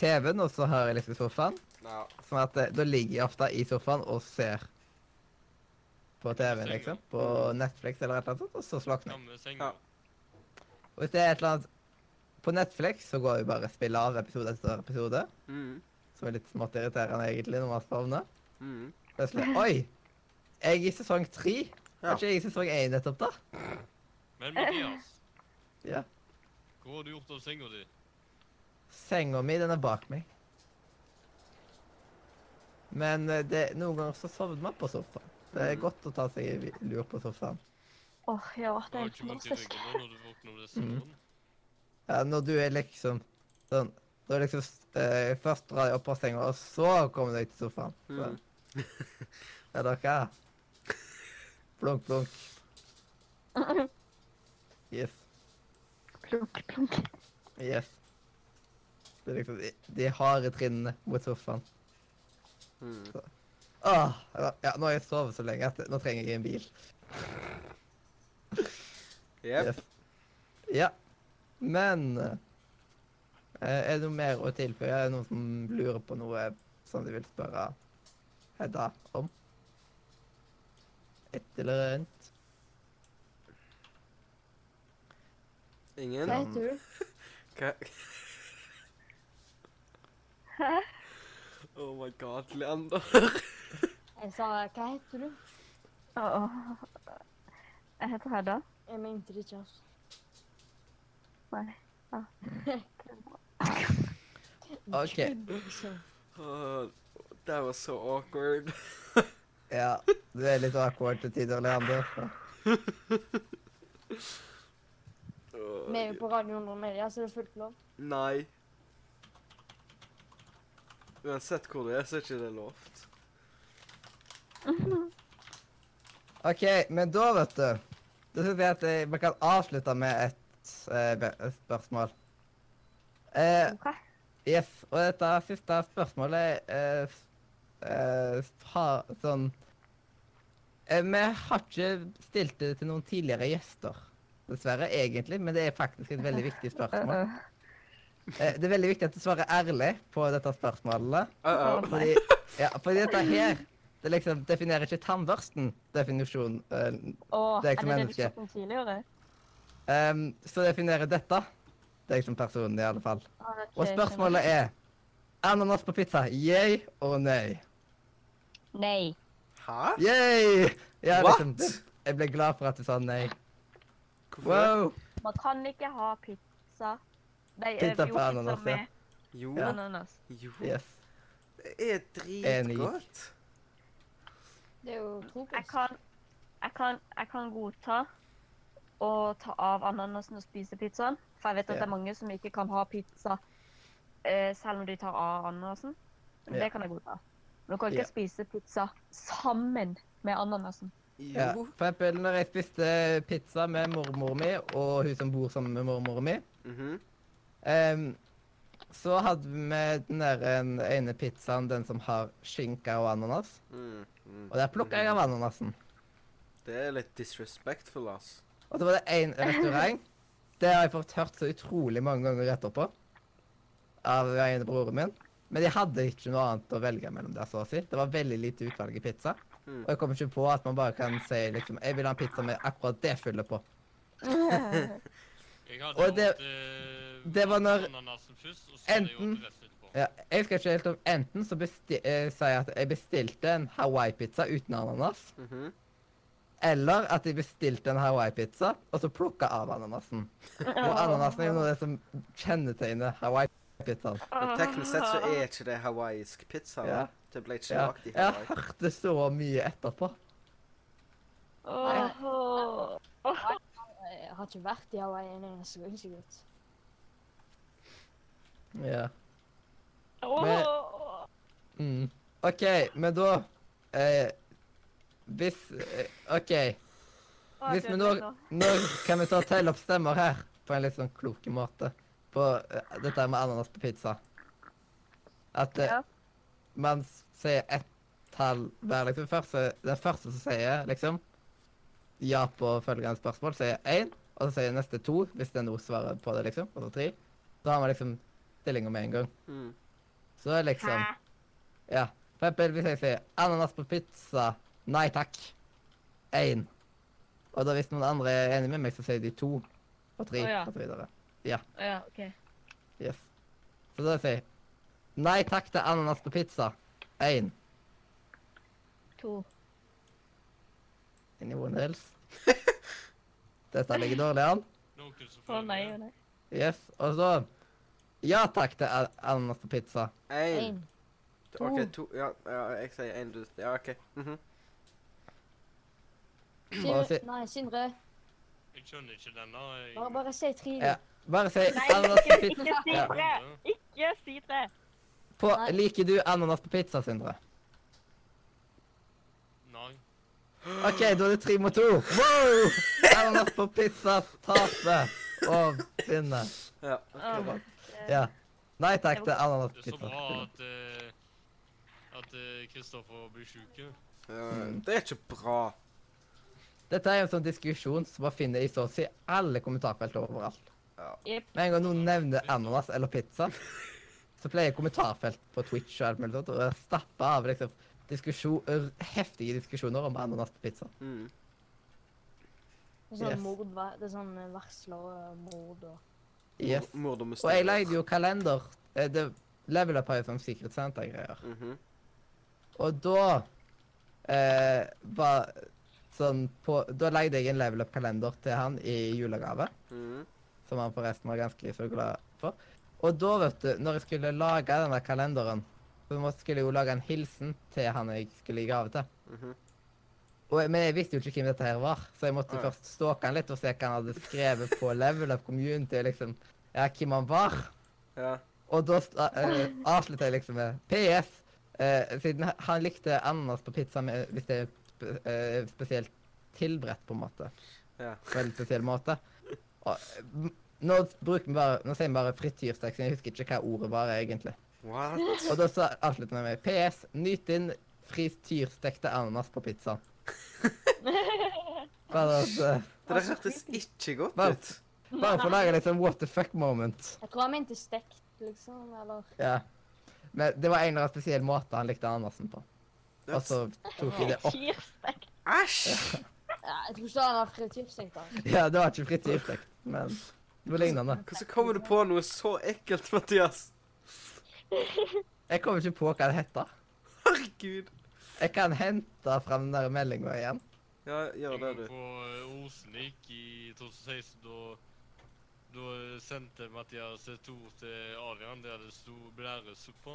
S1: TV-en, og så har jeg liksom sofaen.
S3: Ja.
S1: Sånn at eh, da ligger jeg ofte i sofaen og ser på TV-en, liksom. På Netflix eller et eller annet sånt, og så slakner jeg.
S4: Samme senga.
S3: Ja.
S1: Og hvis det er et eller annet på Netflix, så går jeg bare og spiller av episode etter episode.
S3: Mm.
S1: Som er litt smått irriterende, egentlig, når man sovner.
S3: Mm.
S1: Plutselig Oi! Jeg er i sesong tre.
S3: Ja.
S1: Var ikke jeg i sesong én nettopp, da?
S4: Men Mathias,
S1: Ja.
S4: hva har du gjort av senga di?
S1: Senga mi, den er bak meg. Men eh, det, noen ganger så sovner man på sofaen. Det er
S3: Mhm.
S1: godt å ta seg en vi- lur på sofaen.
S5: Åh, ja, det
S4: Har
S5: er
S4: du
S5: helt
S4: ikke vondt i
S5: fantastisk.
S4: ryggen nå når du våkner om det
S1: Mm.
S4: sommeren?
S1: Ja, når du er liksom sånn Da er liksom eh, Først drar jeg opp av senga, og så kommer du deg til sofaen. Sånn.
S3: Mm.
S1: Er dere Blunk, blunk. Yes.
S5: Plunk, plunk.
S1: Yes. Det er liksom de, de harde trinnene mot sofaen.
S3: Mm.
S1: Åh, ja, nå har jeg sovet så lenge at nå trenger jeg en bil.
S3: Yep.
S1: Yes. Ja. Men eh, Er det noe mer å tilføye? Er det noen som lurer på noe som de vil spørre Hedda om? Et eller annet?
S3: Ingen?
S2: Hva heter du?
S3: Hva? Oh my god, Leander.
S2: Jeg sa hva heter du?
S5: Åh, åh. Jeg heter Hedda.
S2: Jeg mente det ikke, altså.
S5: Nei. Ja.
S1: OK.
S2: Så-
S3: Oh, that was so awkward.
S1: Ja, du er litt awkward til tider, Leander.
S3: Åh,
S2: Vi er jo på radioen og media, så det er fullt lov.
S3: Nei. Uansett hvor du er, så er ikke det lovt.
S1: OK, men da, vet du Da syns jeg at eh, vi kan avslutte med et, eh, be- et spørsmål. Eh,
S5: Ok.
S1: Yes, og dette siste spørsmålet eh, s- eh, har sånn eh, Vi har ikke stilt det til noen tidligere gjester, dessverre, egentlig, men det er faktisk et veldig viktig spørsmål.
S5: Øh,
S1: Eh, det er veldig viktig at du svarer ærlig på dette spørsmålet,
S3: Uh -oh.
S5: Åh,
S1: fordi, ja, fordi dette her det liksom definerer ikke tannbørsten, definisjonen. eh,
S5: Åh,
S1: Det er
S5: er
S1: ikke
S5: det det du
S1: menneske.
S5: snakket om tidligere?
S1: em, ehm, så definerer dette deg som person, i alle fall.
S5: Ah, ok,
S1: Og spørsmålet
S5: skjønner.
S1: er Ananas på pizza, yay og nei?
S5: Nei.
S3: Hæ?
S1: Yay! Ja,
S3: What?
S1: liksom, det- jeg ble glad for at du sa nei.
S3: Hvorfor det?
S1: Wow!
S5: Man kan ikke ha pizza. Nei, eh,
S1: Pizza
S5: jo,
S1: på ananas, ja.
S5: med
S3: Jo,
S5: ananas.
S3: jo.
S1: Yes.
S3: Det er dritgodt.
S2: Det er jo
S5: Jeg
S2: frokost.
S5: kan, jeg kan, jeg kan godta å ta av ananasen og spise pizzaen. For jeg vet at
S1: Ja.
S5: det er mange som ikke kan ha pizza eh, selv om de tar ananasen.
S1: Ja.
S5: Det kan jeg godta. Men du kan ikke
S1: Ja.
S5: spise pizza sammen med ananasen.
S1: Ja.
S3: Jo.
S1: For eksempel når jeg spiste pizza med mormor mi og hun som bor sammen med mormor mi,
S3: Mhm.
S1: ehm, så hadde vi den der en- ene pizzaen, den som har skinke og ananas.
S3: Mm, mm.
S1: Og der plukka jeg av ananasen.
S3: Det er litt disrespectful, ass.
S1: Og så var det én restaurant. Det har jeg fått hørt så utrolig mange ganger etterpå. Av den ene broren min. Men de hadde ikke noe annet å velge mellom der, så å si. Det var veldig lite utvalg i pizza.
S3: Mm.
S1: Og jeg kommer ikke på at man bare kan si liksom Jeg vil ha en pizza med akkurat det fyllet på.
S4: Jeg hadde
S1: Og det-
S4: gjort, eh,
S1: det var når-
S4: ananasen først, og så hadde jeg
S1: Enten-
S4: gjort resten etterpå.
S1: Ja, jeg skal ikke helt om Enten så besti eh, sier jeg at jeg bestilte en Hawaii-pizza uten ananas,
S3: Mhm.
S1: eller at jeg bestilte en Hawaii-pizza og så plukka av ananasen. Og ananasen er jo noe av det som kjennetegner Hawaii-pizzaen.
S3: Men teknisk sett så er ikke det hawaiisk pizza. da.
S1: Ja.
S3: Det ble ikke
S1: Ja.
S3: lagt i
S1: Jeg
S3: Hawaii.
S1: hørte så mye etterpå.
S5: Åh, åh.
S2: Jeg har ikke vært i Hawaii en eneste gang, sikkert.
S1: Ja.
S5: Åh.
S1: Mm. OK, men da eh, Hvis eh, OK,
S5: Åh,
S1: hvis vi
S5: gud,
S1: nå
S5: nå-
S1: Når kan vi ta og telle opp stemmer her på en litt sånn klok måte? På eh, dette med ananas på pizza. At eh,
S5: Ja.
S1: man s- sier ett tall hver, liksom. Først, så- den første som sier liksom ja på følgende spørsmål, sier én. Og så sier neste to, hvis det er noe svar på det, liksom. Og så tre. Da har man liksom stillinga med en gang.
S3: Mm.
S1: Så er liksom
S5: Hæ?
S1: Ja. For eksempel hvis jeg sier ananas på pizza, nei takk. Én. Og da hvis noen andre er enig med meg, så sier de to og tre
S5: Å, ja.
S1: og så videre.
S5: Ja, ok.
S1: Yes. Så da sier jeg nei takk til ananas på pizza. Én.
S5: To.
S1: Anyone else? Dette ligger dårlig an.
S4: Noen som
S5: Å
S4: føler
S5: nei,
S4: det.
S5: å nei.
S1: Yes. Og så ja takk til an- ananas på pizza.
S3: Én.
S2: En.
S3: OK, to Ja, ja jeg sier én, du Ja, OK. Mhm.
S2: Sindre, nei, Sindre.
S4: Jeg skjønner ikke eh, den da. Jeg...
S2: Bare, bare si tre.
S1: Ja. Bare si
S5: Nei,
S1: ananas på
S5: ikke,
S1: pizza.
S5: ikke si
S1: Ja.
S5: tre! Ikke si tre!
S1: På,
S2: Nei.
S1: liker du ananas på pizza, Sindre?
S4: Nei.
S1: OK, da er det tre mot to. Wow! Ananas på pizza taper og vinner.
S3: Ja.
S5: Åh,
S1: bra.
S5: eh,
S1: Ja. Nei takk til ananas
S4: Det
S1: på
S4: er så
S1: pizza.
S4: bra at eh, at eh, Kristoffer blir syk. ja.
S3: Eh, Det er ikke bra.
S1: Dette er jo en sånn diskusjon som man finner i så å si alle kommentarfelt overalt.
S5: Jepp.
S1: Med en gang noen nevner ananas eller pizza, så pleier kommentarfelt på Twitch og alt mulig sånt å stappe av liksom diskusjon, r- heftige diskusjoner om ananas på pizza.
S3: Mm.
S2: Det er sånn
S1: Yes.
S2: mord, va- det er sånn eh, varsler og mord og
S1: Yes.
S3: Mor- Mord og
S1: Og jeg
S3: mysterier.
S1: leide jo kalender. eh, Det level up har jo sånn Secret Santa-greier.
S3: Mhm.
S1: Og da eh, var sånn på Da leide jeg en level up-kalender til han i julegave.
S3: Mhm.
S1: Som han forresten var ganske så glad for. Og da, vet du, når jeg skulle lage denne kalenderen, så måtte- skulle jeg jo lage en hilsen til han jeg skulle gi gave til.
S3: Mhm.
S1: Og, jeg- men jeg visste jo ikke hvem dette her var, så jeg måtte
S3: Ah, ja.
S1: først stalke han litt og se hva han hadde skrevet på level up community, og liksom ja, hvem han var.
S3: Ja.
S1: Og da sta- eh, avslutta jeg liksom med PS. eh, siden ha- han likte ananas på pizza med, hvis det er spe- eh, spesielt tilberedt, på en måte.
S3: Ja.
S1: På en veldig spesiell måte. Og, eh, m- nå, bruker vi bare, nå sier vi bare frityrstekt, så jeg husker ikke hva ordet var egentlig.
S3: What?
S1: Og da sa- avslutta jeg med PS. Nyt din frityrstekte ananas på pizzaen. Bare, at, eh,
S3: Det der hørtes ikke godt
S1: Hva?
S3: ut.
S1: bare for å lage litt sånn what the fuck moment.
S2: Jeg tror han mente stekt, liksom, eller
S1: Ja. Men det var en eller annen spesiell måte han likte ananasen på.
S3: Det
S1: Og
S3: hørtes-
S1: så tok jeg det opp.
S5: Tirsdag.
S3: Æsj!
S2: ja, Jeg tror ikke han har frityrstekt, da.
S1: Ja, det var ikke frityrstekt, men det var lignende.
S3: Hvordan kommer du på noe så ekkelt, Mathias?
S1: Jeg kommer ikke på hva det heter.
S3: Herregud.
S1: Jeg kan hente fram den der meldinga igjen.
S3: Ja, gjør
S4: Jeg var
S3: det, du.
S4: på eh, Osenik i 2016, da da sendte Mathias et ord til Adrian der det sto blæresuppa.